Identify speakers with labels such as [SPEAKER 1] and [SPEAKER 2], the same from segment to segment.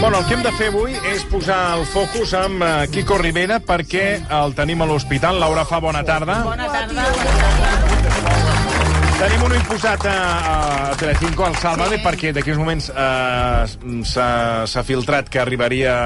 [SPEAKER 1] Bueno, el que hem de fer avui és posar el focus amb eh, Quico Rivera perquè el tenim a l'hospital. Laura fa bona tarda.
[SPEAKER 2] Bona tarda.
[SPEAKER 1] Tenim un imposat a, a Telecinco, al Sálvame, sí. perquè d'aquí uns moments eh, s'ha s'ha filtrat que arribaria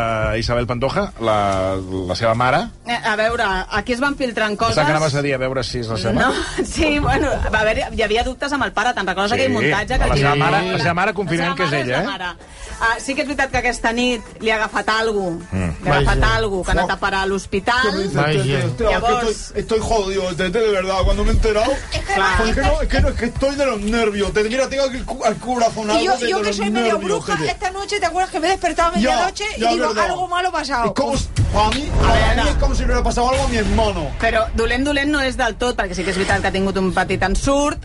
[SPEAKER 1] Isabel Pantoja, la, la seva mare.
[SPEAKER 2] Eh, A veure, aquí es van filtrant coses...
[SPEAKER 1] Pensava que anaves a dir a veure si és la seva.
[SPEAKER 2] No, sí, bueno, va haver, hi havia dubtes amb el pare, te'n recordes
[SPEAKER 1] Sí,
[SPEAKER 2] aquell muntatge?
[SPEAKER 1] la
[SPEAKER 2] Que
[SPEAKER 1] seva mare- la seva mare confirmem
[SPEAKER 2] La
[SPEAKER 1] que
[SPEAKER 2] seva
[SPEAKER 1] és
[SPEAKER 2] mare
[SPEAKER 1] ella,
[SPEAKER 2] la
[SPEAKER 1] eh?
[SPEAKER 2] mare. Ah, sí que és veritat que aquesta nit li ha agafat algú,
[SPEAKER 1] Mm.
[SPEAKER 2] li ha
[SPEAKER 3] Vaja.
[SPEAKER 2] agafat algo, que ha anat a parar a
[SPEAKER 3] que me
[SPEAKER 2] l'hospital.
[SPEAKER 3] dice,
[SPEAKER 4] Vaya.
[SPEAKER 3] "Tete, hostia,
[SPEAKER 2] Ya
[SPEAKER 3] es que
[SPEAKER 2] vos.
[SPEAKER 3] estoy, estoy jodido, Tete, de verdad, cuando me he enterado.
[SPEAKER 2] Claro.
[SPEAKER 3] Porque no, es que no, es que estoy de los nervios, Tete. Mira, tengo aquí el, cu- el corazonado
[SPEAKER 5] Y yo,
[SPEAKER 3] de-
[SPEAKER 5] yo
[SPEAKER 3] de
[SPEAKER 5] que
[SPEAKER 3] los
[SPEAKER 5] soy medio
[SPEAKER 3] nervios,
[SPEAKER 5] bruja,
[SPEAKER 3] Tete.
[SPEAKER 5] esta noche te acuerdas que me he despertado a
[SPEAKER 3] Ya,
[SPEAKER 5] medianoche y
[SPEAKER 3] ya,
[SPEAKER 5] digo,
[SPEAKER 3] verdad.
[SPEAKER 5] algo malo ha pasado.
[SPEAKER 3] Es como, si- para mí, para mí es como si le hubiera pasado algo a mi hermano.
[SPEAKER 2] Però dolent, dolent no és del tot, perquè sí que és veritat que ha tingut un petit ensurt.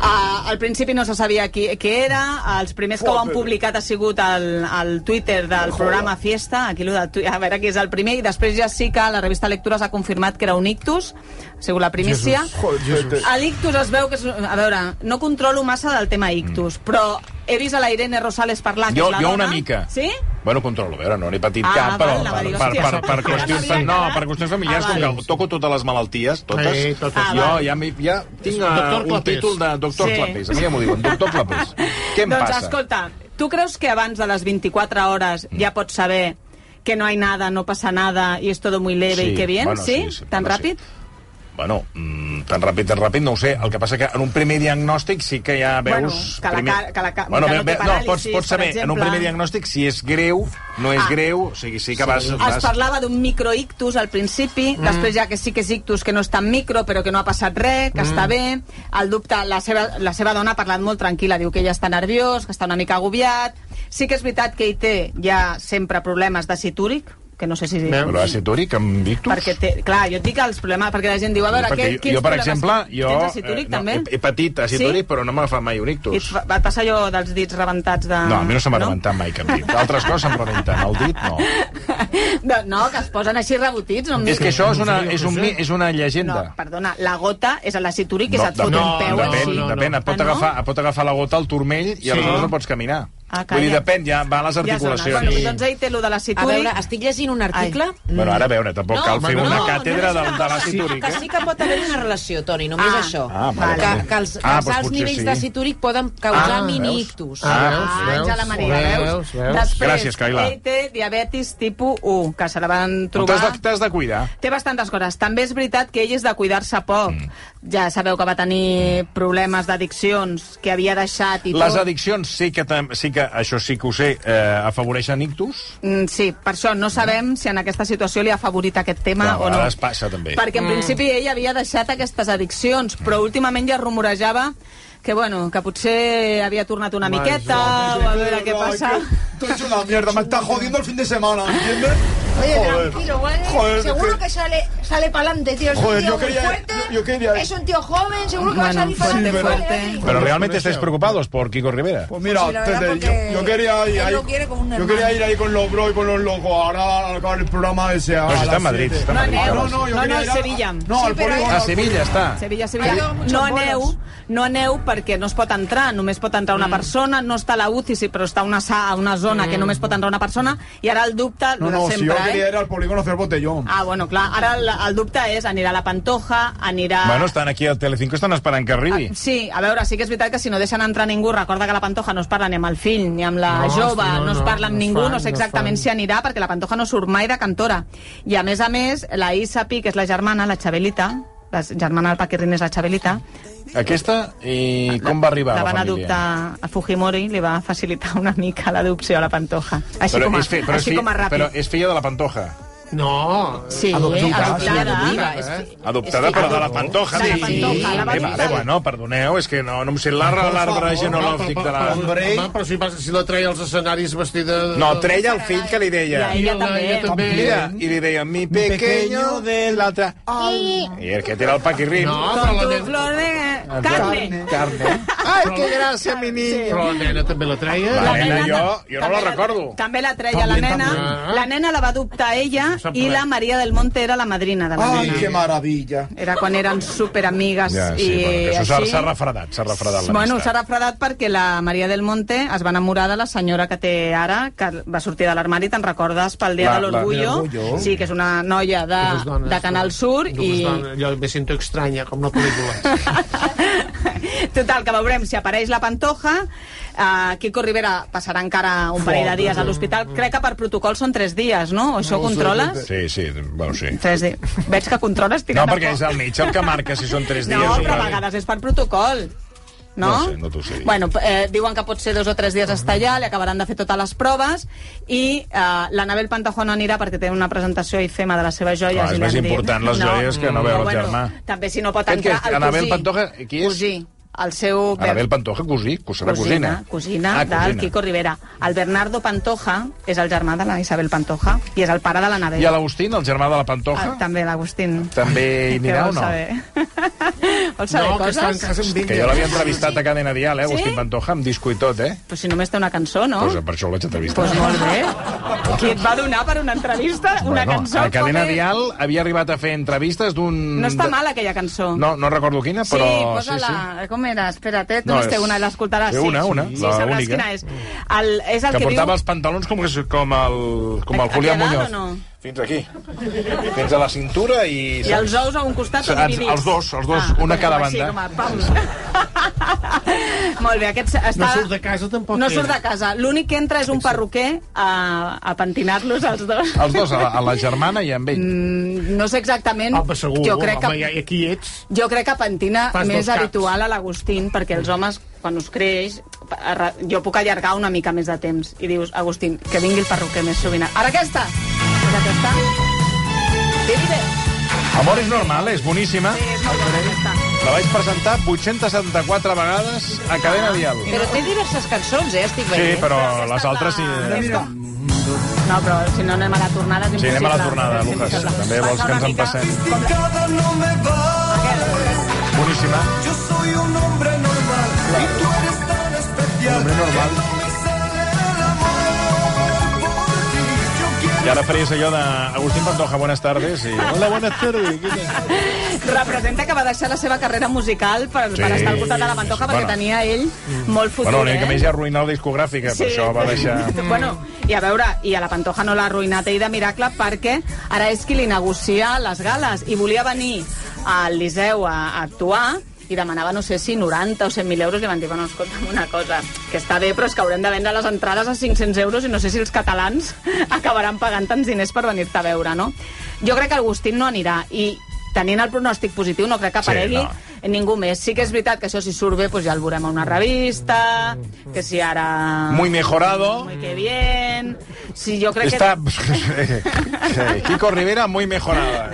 [SPEAKER 2] Uh, al principi no se sabia qui, qui era. Els primers que ho han
[SPEAKER 3] Joder.
[SPEAKER 2] publicat ha sigut el, el Twitter del programa Fiesta, aquí lo del, tu- a veure qui és el primer, i després ja sí que la revista Lectures ha confirmat que era un ictus, ha sigut la primícia.
[SPEAKER 3] Joder, Tete.
[SPEAKER 2] A l'ictus es veu que... És, a veure, no controlo massa del tema ictus, però he vist a la Irene Rosales parlar, que
[SPEAKER 1] Mm. Jo,
[SPEAKER 2] és la
[SPEAKER 1] jo
[SPEAKER 2] dona.
[SPEAKER 1] una mica.
[SPEAKER 2] Sí?
[SPEAKER 1] Bueno, controlo, a veure, no n'he patit
[SPEAKER 2] Ah,
[SPEAKER 1] cap,
[SPEAKER 2] val,
[SPEAKER 1] però
[SPEAKER 2] la
[SPEAKER 1] per,
[SPEAKER 2] va dir,
[SPEAKER 1] per, per,
[SPEAKER 2] hòstia,
[SPEAKER 1] per,
[SPEAKER 2] sí,
[SPEAKER 1] qüestions,
[SPEAKER 2] sí, sí.
[SPEAKER 1] no, per qüestions familiars,
[SPEAKER 2] Ah,
[SPEAKER 1] com que toco totes les malalties, totes,
[SPEAKER 4] Sí, totes.
[SPEAKER 2] Ah,
[SPEAKER 1] jo
[SPEAKER 2] val.
[SPEAKER 1] ja, m'hi- ja tinc eh,
[SPEAKER 4] Doctor
[SPEAKER 1] un
[SPEAKER 4] Clapés.
[SPEAKER 1] títol de doctor
[SPEAKER 2] Sí.
[SPEAKER 1] Clapés, a mi ja m'ho diuen, doctor Clapés. Què em
[SPEAKER 2] doncs
[SPEAKER 1] passa? Mm.
[SPEAKER 2] escolta, tu creus que abans de les 24 hores ja pots saber que no hay nada, no pasa nada y es todo muy leve
[SPEAKER 1] Sí,
[SPEAKER 2] y que bien,
[SPEAKER 1] bueno,
[SPEAKER 2] sí?
[SPEAKER 1] sí, sí,
[SPEAKER 2] Tan
[SPEAKER 1] bueno, sí.
[SPEAKER 2] ràpid?
[SPEAKER 1] Bueno, mm, tan ràpid, tan ràpid, no ho sé. El que passa que en un primer diagnòstic sí que ja veus...
[SPEAKER 2] Bueno, que la ca- que la ca-
[SPEAKER 1] bueno,
[SPEAKER 2] que no té
[SPEAKER 1] no,
[SPEAKER 2] paràlisis,
[SPEAKER 1] pots,
[SPEAKER 2] per
[SPEAKER 1] pots saber en un
[SPEAKER 2] exemple.
[SPEAKER 1] primer diagnòstic si és greu, no és
[SPEAKER 2] Ah.
[SPEAKER 1] greu, o sigui, sí que vas...
[SPEAKER 2] Es
[SPEAKER 1] vas...
[SPEAKER 2] parlava d'un microictus al principi, mm. després ja que sí que és ictus, que no és tan micro, però que no ha passat res, que mm. està bé. El dubte, la seva, la seva dona ha parlat molt tranquil·la, diu que ella està nerviós, que està una mica agobiat. Sí que és veritat que hi té ja sempre problemes de citúric, que no sé si...
[SPEAKER 4] Veus?
[SPEAKER 1] Però acetòric amb ictus?
[SPEAKER 2] Perquè té, clar, jo et dic els problemes, perquè la gent diu, a veure,
[SPEAKER 1] perquè
[SPEAKER 2] què,
[SPEAKER 1] jo,
[SPEAKER 2] quins
[SPEAKER 1] jo, per
[SPEAKER 2] problemes-
[SPEAKER 1] exemple, jo
[SPEAKER 2] Tens acitúric,
[SPEAKER 1] eh,
[SPEAKER 2] no, també?
[SPEAKER 1] no, he, he patit acetòric, sí? però no m'ha agafat mai un
[SPEAKER 2] I
[SPEAKER 1] ictus.
[SPEAKER 2] et fa- Ah, va et passar allò dels dits rebentats de...
[SPEAKER 1] No, a mi no se m'ha rebentat mai cap dit. Altres coses se'm rebenten, el dit no.
[SPEAKER 2] no, no, que es posen així rebotits. No em
[SPEAKER 1] És que
[SPEAKER 2] diguis.
[SPEAKER 1] això és una, és un, mi- és una
[SPEAKER 2] No,
[SPEAKER 1] llegenda.
[SPEAKER 2] perdona, la gota és a l'acitúric, que
[SPEAKER 1] No,
[SPEAKER 2] se't fot
[SPEAKER 1] depèn,
[SPEAKER 2] un peu
[SPEAKER 1] depèn,
[SPEAKER 2] així.
[SPEAKER 1] Depèn, depèn. Et pot,
[SPEAKER 2] Ah, no?
[SPEAKER 1] agafar, et pot agafar la gota al turmell i sí. aleshores no pots caminar.
[SPEAKER 2] Ah,
[SPEAKER 1] Vull dir,
[SPEAKER 2] calla.
[SPEAKER 1] depèn, ja va a les
[SPEAKER 2] Ja sona. Bueno,
[SPEAKER 1] articulacions.
[SPEAKER 2] sí. doncs ahir té lo de
[SPEAKER 6] A
[SPEAKER 2] l'acitúric.
[SPEAKER 6] veure, estic llegint un article...
[SPEAKER 1] Sí. Bueno, ara a veure, tampoc
[SPEAKER 6] No,
[SPEAKER 1] cal fer
[SPEAKER 6] no,
[SPEAKER 1] una
[SPEAKER 6] no,
[SPEAKER 1] càtedra
[SPEAKER 6] no,
[SPEAKER 1] de,
[SPEAKER 6] no,
[SPEAKER 1] de l'àcid úric,
[SPEAKER 6] Ah, Que
[SPEAKER 1] eh?
[SPEAKER 6] sí que pot haver una relació, Toni, només
[SPEAKER 2] Ah.
[SPEAKER 6] això.
[SPEAKER 1] Ah, vale,
[SPEAKER 6] que,
[SPEAKER 1] vale.
[SPEAKER 6] que els,
[SPEAKER 1] Ah,
[SPEAKER 6] que els
[SPEAKER 1] doncs
[SPEAKER 6] alts
[SPEAKER 1] potser
[SPEAKER 6] nivells
[SPEAKER 1] sí.
[SPEAKER 6] de citúric poden causar
[SPEAKER 1] Ah,
[SPEAKER 6] ah,
[SPEAKER 1] veus?
[SPEAKER 6] mini-ictus.
[SPEAKER 4] Ah,
[SPEAKER 2] Ah,
[SPEAKER 4] veus,
[SPEAKER 2] Àngela Maria, veus?
[SPEAKER 4] veus, veus.
[SPEAKER 2] Després,
[SPEAKER 1] Gràcies, Caila.
[SPEAKER 2] ell té diabetis tipus 1, que se la van trobar...
[SPEAKER 1] T'has de, t'has de cuidar.
[SPEAKER 2] Té bastantes coses. També és veritat que ell és de cuidar-se poc.
[SPEAKER 1] Mm.
[SPEAKER 2] Ja sabeu que va tenir problemes d'addiccions, que havia deixat i
[SPEAKER 1] Les
[SPEAKER 2] tot.
[SPEAKER 1] addiccions sí que, tam- sí que això sí que ho sé, eh, afavoreixen ictus.
[SPEAKER 2] Mm, Sí, per això no
[SPEAKER 1] Mm.
[SPEAKER 2] sabem si en aquesta situació li ha favorit aquest tema
[SPEAKER 1] Clar, a
[SPEAKER 2] o no.
[SPEAKER 1] vegades passa, també. Mm.
[SPEAKER 2] Perquè en principi ell havia deixat aquestes addiccions, però últimament ja rumorejava que, bueno, que potser havia tornat una miqueta,
[SPEAKER 5] Ah,
[SPEAKER 2] o a veure què passa.
[SPEAKER 3] Estoy hecho una mierda, me está jodiendo el fin de semana, ¿entiendes?
[SPEAKER 5] Oye,
[SPEAKER 3] Joder.
[SPEAKER 5] tranquilo, güey.
[SPEAKER 3] Joder,
[SPEAKER 5] seguro
[SPEAKER 3] que-
[SPEAKER 5] que, sale, sale para adelante, tío. Es
[SPEAKER 3] Joder,
[SPEAKER 5] un tío
[SPEAKER 3] yo
[SPEAKER 5] muy
[SPEAKER 3] quería-
[SPEAKER 5] fuerte,
[SPEAKER 3] yo- yo quería-
[SPEAKER 5] es un tío joven, seguro que va a
[SPEAKER 2] Bueno,
[SPEAKER 5] salir eh. para
[SPEAKER 2] fuerte,
[SPEAKER 5] adelante.
[SPEAKER 2] fuerte.
[SPEAKER 5] Vale, vale.
[SPEAKER 1] Pero realmente estáis preocupados por Kiko Rivera.
[SPEAKER 3] Pues mira,
[SPEAKER 5] Sí, la verdad,
[SPEAKER 3] Tete,
[SPEAKER 5] porque
[SPEAKER 3] yo, yo quería ir
[SPEAKER 5] él
[SPEAKER 3] ahí.
[SPEAKER 5] lo quiere como un
[SPEAKER 3] yo
[SPEAKER 5] hermano.
[SPEAKER 3] quería ir ahí con los bros y con los locos. Ahora al acabar el programa ese. a
[SPEAKER 1] No, si
[SPEAKER 3] las
[SPEAKER 1] Pues está en Madrid,
[SPEAKER 3] siete.
[SPEAKER 1] si está en Madrid. Ah,
[SPEAKER 2] No,
[SPEAKER 1] cabrón.
[SPEAKER 3] No, no, yo
[SPEAKER 2] No,
[SPEAKER 3] quería
[SPEAKER 2] no,
[SPEAKER 3] ir a-
[SPEAKER 2] Sevilla.
[SPEAKER 3] No, al
[SPEAKER 5] Sí, pero
[SPEAKER 3] polígono.
[SPEAKER 1] A Sevilla està.
[SPEAKER 2] Ah, Sevilla,
[SPEAKER 5] Ha
[SPEAKER 2] Sevilla.
[SPEAKER 5] habido muchos
[SPEAKER 2] No
[SPEAKER 5] bolos.
[SPEAKER 2] aneu, no aneu perquè no es pot entrar, només pot entrar
[SPEAKER 4] Mm.
[SPEAKER 2] una persona, no està a la UCI, sí, però està a una, sa- a una zona que només pot entrar una persona, i ara el dubte,
[SPEAKER 3] No,
[SPEAKER 2] lo
[SPEAKER 3] no,
[SPEAKER 2] de
[SPEAKER 3] si yo
[SPEAKER 2] sempre,
[SPEAKER 3] quería
[SPEAKER 2] eh?
[SPEAKER 3] ir al polígono a hacer botellón.
[SPEAKER 2] Ah, bueno, clar, ara el, el dubte és anirà a la Pantoja, anirà...
[SPEAKER 1] Bueno, estan aquí al Telecinco, estan esperant que arribi.
[SPEAKER 2] Sí, a veure, sí que és veritat que si no deixen entrar ningú, recorda que la Pantoja no es parla ni amb el fill, ni amb la
[SPEAKER 4] No,
[SPEAKER 2] jove,
[SPEAKER 4] no,
[SPEAKER 2] no,
[SPEAKER 4] no,
[SPEAKER 2] es parla amb
[SPEAKER 4] no es
[SPEAKER 2] ningú,
[SPEAKER 4] fan,
[SPEAKER 2] no sé
[SPEAKER 4] no es
[SPEAKER 2] exactament
[SPEAKER 4] fan.
[SPEAKER 2] si anirà, perquè la Pantoja no surt mai de cantora. I a més a més, la Isa Pi, que és la germana, la Xabelita, la germana del Paquirrin és la Xabelita,
[SPEAKER 1] Aquesta, i com va arribar
[SPEAKER 2] la
[SPEAKER 1] la,
[SPEAKER 2] van
[SPEAKER 1] família?
[SPEAKER 2] adoptar a Fujimori, li va facilitar una mica l'adopció a la Pantoja. Així com a,
[SPEAKER 1] és fi- és
[SPEAKER 2] així
[SPEAKER 1] fi-
[SPEAKER 2] com a ràpid.
[SPEAKER 1] però és filla de la Pantoja.
[SPEAKER 4] No.
[SPEAKER 2] Sí, adoptada.
[SPEAKER 1] eh? Adoptada, però de la Pantoja.
[SPEAKER 2] De la
[SPEAKER 1] dic.
[SPEAKER 2] Pantoja, la va
[SPEAKER 1] Vale,
[SPEAKER 2] adoptar.
[SPEAKER 1] vale, bueno, perdoneu, és que no, no em sé l'arbre
[SPEAKER 3] Per
[SPEAKER 1] l'arbre
[SPEAKER 3] favor,
[SPEAKER 1] genològic de la...
[SPEAKER 3] Hombre.
[SPEAKER 4] Va, però si, passa, si la treia als escenaris vestida... de-
[SPEAKER 1] No, treia el fill que li deia.
[SPEAKER 2] Ja, ella
[SPEAKER 4] I
[SPEAKER 2] també.
[SPEAKER 4] ella també.
[SPEAKER 1] Mira, i li deia, mi pequeño de l'altre... I el que té el paquirrim.
[SPEAKER 4] No, però
[SPEAKER 2] Con
[SPEAKER 4] la,
[SPEAKER 2] tu
[SPEAKER 4] nena,
[SPEAKER 2] flor de... Carne.
[SPEAKER 1] Carne. Ai, que gràcia, mi niño.
[SPEAKER 4] però la nena també la Doncs treia.
[SPEAKER 1] La nena,
[SPEAKER 2] nena
[SPEAKER 1] jo, jo no
[SPEAKER 2] també
[SPEAKER 1] la recordo.
[SPEAKER 2] També la treia la nena.
[SPEAKER 4] també.
[SPEAKER 2] La nena la va adoptar ella
[SPEAKER 4] sap
[SPEAKER 2] i
[SPEAKER 4] res.
[SPEAKER 2] la Maria del Monte era la madrina de la
[SPEAKER 3] Ai,
[SPEAKER 2] nena.
[SPEAKER 3] que maravilla.
[SPEAKER 2] Era quan eren superamigues.
[SPEAKER 1] Ja, sí,
[SPEAKER 2] i
[SPEAKER 1] bueno, que això s'ha
[SPEAKER 2] així.
[SPEAKER 1] s'ha refredat, s'ha refredat l'amistat.
[SPEAKER 2] Bueno, s'ha refredat perquè la Maria del Monte es va enamorar de la senyora que té ara, que va sortir de l'armari, te'n recordes, pel Dia
[SPEAKER 1] La-
[SPEAKER 2] de
[SPEAKER 1] la-
[SPEAKER 2] l'Orgullo.
[SPEAKER 3] l'Orgullo.
[SPEAKER 2] Sí, que és una noia de,
[SPEAKER 4] Dues doncs dones,
[SPEAKER 2] de Canal Sur
[SPEAKER 4] dues
[SPEAKER 2] i...
[SPEAKER 4] Dones, jo me sento estranya, com la pel·lícula.
[SPEAKER 2] Total, que veurem si apareix la Pantoja. Uh, Quico Rivera passarà encara un parell de dies
[SPEAKER 1] eh?
[SPEAKER 2] a l'hospital. Crec que per protocol són tres dies, no? O això ho controles?
[SPEAKER 1] Sí, sí, bueno, sí.
[SPEAKER 2] Tres dies. Veig que controles
[SPEAKER 1] No,
[SPEAKER 2] tirant a
[SPEAKER 1] perquè
[SPEAKER 2] poc.
[SPEAKER 1] és el metge el que marca si són 3 dies.
[SPEAKER 2] No,
[SPEAKER 1] o
[SPEAKER 2] però a
[SPEAKER 1] quatre.
[SPEAKER 2] vegades és per protocol. No?
[SPEAKER 1] No sé, no t'ho sé dir.
[SPEAKER 2] Bueno, eh, diuen que pot ser dos o tres dies estar allà, li acabaran de fer totes les proves, i eh, l'Anabel Pantajón anirà perquè té una presentació i fema de les seves joies.
[SPEAKER 1] Clar, és
[SPEAKER 2] i li
[SPEAKER 1] més
[SPEAKER 2] han dit-
[SPEAKER 1] important les joies que no veure
[SPEAKER 2] però
[SPEAKER 1] el germà.
[SPEAKER 2] També si no pot
[SPEAKER 1] Aquest
[SPEAKER 2] entrar
[SPEAKER 1] que és
[SPEAKER 2] el
[SPEAKER 1] Anabel
[SPEAKER 2] cosí.
[SPEAKER 1] Pantoja, qui és?
[SPEAKER 2] Cosí, el seu...
[SPEAKER 1] Anabel Pantoja, cosí, cosina,
[SPEAKER 2] Cosina,
[SPEAKER 1] cosina.
[SPEAKER 2] cosina
[SPEAKER 1] ah,
[SPEAKER 2] del Quico Rivera. El Bernardo Pantoja és el germà de la Isabel Pantoja i és el pare de l'Anabel.
[SPEAKER 1] I a l'Agustín, el germà de la Pantoja,
[SPEAKER 2] Ah, també l'Agustín.
[SPEAKER 1] també hi
[SPEAKER 2] Què
[SPEAKER 1] anirà o
[SPEAKER 2] vols
[SPEAKER 1] no?
[SPEAKER 2] saber? vols saber
[SPEAKER 4] No, que
[SPEAKER 2] coses?
[SPEAKER 4] està en casa amb ell.
[SPEAKER 1] Que jo l'havia entrevistat a Cadena Dial, eh,
[SPEAKER 2] Sí?
[SPEAKER 1] Agustín Pantoja, amb disco i tot, eh?
[SPEAKER 2] Però si només té una cançó, no?
[SPEAKER 1] Pues, per això l'haig entrevistat.
[SPEAKER 2] pues molt bé. Qui et va donar per una entrevista una
[SPEAKER 1] Bueno,
[SPEAKER 2] cançó?
[SPEAKER 1] a Cadena
[SPEAKER 2] Joder.
[SPEAKER 1] Dial havia arribat a fer entrevistes d'un...
[SPEAKER 2] No està mal, aquella cançó.
[SPEAKER 1] No, no recordo quina, però...
[SPEAKER 2] Sí, posa-la. Com era? Espera't, eh? Tu
[SPEAKER 1] No,
[SPEAKER 2] no, té
[SPEAKER 1] és-
[SPEAKER 2] una, l'escoltaràs.
[SPEAKER 1] té una, una,
[SPEAKER 2] Sí,
[SPEAKER 1] la
[SPEAKER 2] sí sabràs
[SPEAKER 1] única.
[SPEAKER 2] quina és. El, és el
[SPEAKER 1] Que
[SPEAKER 2] que,
[SPEAKER 1] portava
[SPEAKER 2] diu...
[SPEAKER 1] els pantalons com, que- com el, com el
[SPEAKER 2] Aquí
[SPEAKER 1] Julián
[SPEAKER 2] a dalt
[SPEAKER 1] Muñoz.
[SPEAKER 2] o no?
[SPEAKER 1] Fins aquí. Fins a la cintura i...
[SPEAKER 2] I els ous a un costat o
[SPEAKER 1] Els-
[SPEAKER 2] dividits?
[SPEAKER 1] els dos, els dos, una
[SPEAKER 2] doncs
[SPEAKER 1] cada
[SPEAKER 2] com així,
[SPEAKER 1] banda.
[SPEAKER 2] com a, pam. Molt bé, aquest està...
[SPEAKER 4] No surt de casa, tampoc,
[SPEAKER 2] No
[SPEAKER 4] ell.
[SPEAKER 2] surt de casa. L'únic que entra és un perruquer a, a pentinar-los, els dos.
[SPEAKER 1] Els dos, a la, a la germana i amb ell.
[SPEAKER 2] Mm, No sé exactament...
[SPEAKER 4] Home, segur,
[SPEAKER 2] jo crec
[SPEAKER 4] home,
[SPEAKER 2] que...
[SPEAKER 4] ja, aquí ets.
[SPEAKER 2] Jo crec que pentina
[SPEAKER 4] Fas dos
[SPEAKER 2] més
[SPEAKER 4] caps.
[SPEAKER 2] habitual a l'Agustín, perquè els homes, quan us creix, arra- jo puc allargar una mica més de temps. I dius, Agustín, que vingui el perruquer més sovint. Ara aquesta! Pues aquesta. Divide.
[SPEAKER 1] Amor és normal, és boníssima.
[SPEAKER 2] Sí, és molt bona aquesta.
[SPEAKER 1] La vaig presentar 874 vegades a
[SPEAKER 2] Ah,
[SPEAKER 1] Cadena Dial.
[SPEAKER 6] Però té diverses cançons, eh? Estic
[SPEAKER 1] Sí,
[SPEAKER 6] veient.
[SPEAKER 1] però
[SPEAKER 2] aquesta
[SPEAKER 1] les
[SPEAKER 2] és
[SPEAKER 1] altres sí...
[SPEAKER 2] la- No, però si no anem a la tornada és
[SPEAKER 1] Sí,
[SPEAKER 2] impossible.
[SPEAKER 1] anem a la tornada,
[SPEAKER 2] És
[SPEAKER 1] Lucas.
[SPEAKER 2] impossible.
[SPEAKER 1] També
[SPEAKER 2] Passa
[SPEAKER 1] vols que
[SPEAKER 2] una
[SPEAKER 1] ens en
[SPEAKER 2] mica.
[SPEAKER 1] passem. Boníssima.
[SPEAKER 7] Yo soy un hombre normal y tú eres tan especial. Hombre normal.
[SPEAKER 1] I ara faries allò d'Agustín Pantoja, buenas tardes. I... Hola, buenas tardes. Què tal?
[SPEAKER 2] Representa que va deixar la seva carrera musical per,
[SPEAKER 1] Sí.
[SPEAKER 2] per estar al costat de la Pantoja,
[SPEAKER 1] Bueno. Mm.
[SPEAKER 2] perquè tenia ell molt futur,
[SPEAKER 1] Bueno, l'únic
[SPEAKER 2] eh?
[SPEAKER 1] que més ja arruïnar la discogràfica, per això va deixar...
[SPEAKER 2] Bueno, i a veure, i a la Pantoja no l'ha arruïnat ell de miracle perquè ara és qui li negocia les gales i volia venir al Liceu a, a actuar i demanava, no sé si 90 o 100.000 euros, li van dir, bueno, escolta'm una cosa, que està bé, però és que haurem de vendre les entrades a 500 euros i no sé si els catalans acabaran pagant tants diners per venir-te a veure, no? Jo crec que Agustín no anirà i tenint el pronòstic positiu no crec que
[SPEAKER 1] Sí,
[SPEAKER 2] aparegui
[SPEAKER 1] no.
[SPEAKER 2] ningú més. Sí que és veritat que això si surt bé doncs ja el veurem a una revista, que si ara...
[SPEAKER 1] Muy mejorado.
[SPEAKER 2] Muy que bien. Sí, jo crec
[SPEAKER 1] Està...
[SPEAKER 2] que...
[SPEAKER 1] Sí, Kiko Rivera, muy mejorada.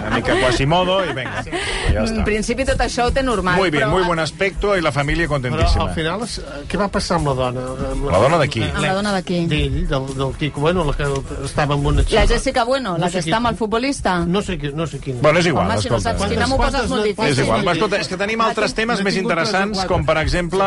[SPEAKER 1] Una mica Quasimodo i venga. I ja
[SPEAKER 2] En
[SPEAKER 1] està.
[SPEAKER 2] principi tot això ho té normal.
[SPEAKER 1] Muy bien,
[SPEAKER 2] però-
[SPEAKER 1] muy buen aspecto i la família
[SPEAKER 4] Però
[SPEAKER 1] contentíssima.
[SPEAKER 4] al final, es- què va passar amb la dona? Amb
[SPEAKER 1] La dona de qui?
[SPEAKER 2] Amb la dona de qui?
[SPEAKER 4] D'ell, del, del Quico. Bueno, la que estava amb una
[SPEAKER 2] La
[SPEAKER 4] xica.
[SPEAKER 2] Jessica Bueno, la
[SPEAKER 4] No sé
[SPEAKER 2] que
[SPEAKER 4] qui-
[SPEAKER 2] està amb el futbolista.
[SPEAKER 4] No sé, qui, no sé quina.
[SPEAKER 1] Bueno, és igual,
[SPEAKER 2] Home, si no
[SPEAKER 1] escolta.
[SPEAKER 2] saps quina m'ho
[SPEAKER 4] Quantes-
[SPEAKER 2] poses molt
[SPEAKER 4] quantes-
[SPEAKER 1] És
[SPEAKER 2] difícil.
[SPEAKER 1] igual. Va, escolta, és que tenim altres temes més interessants, com per exemple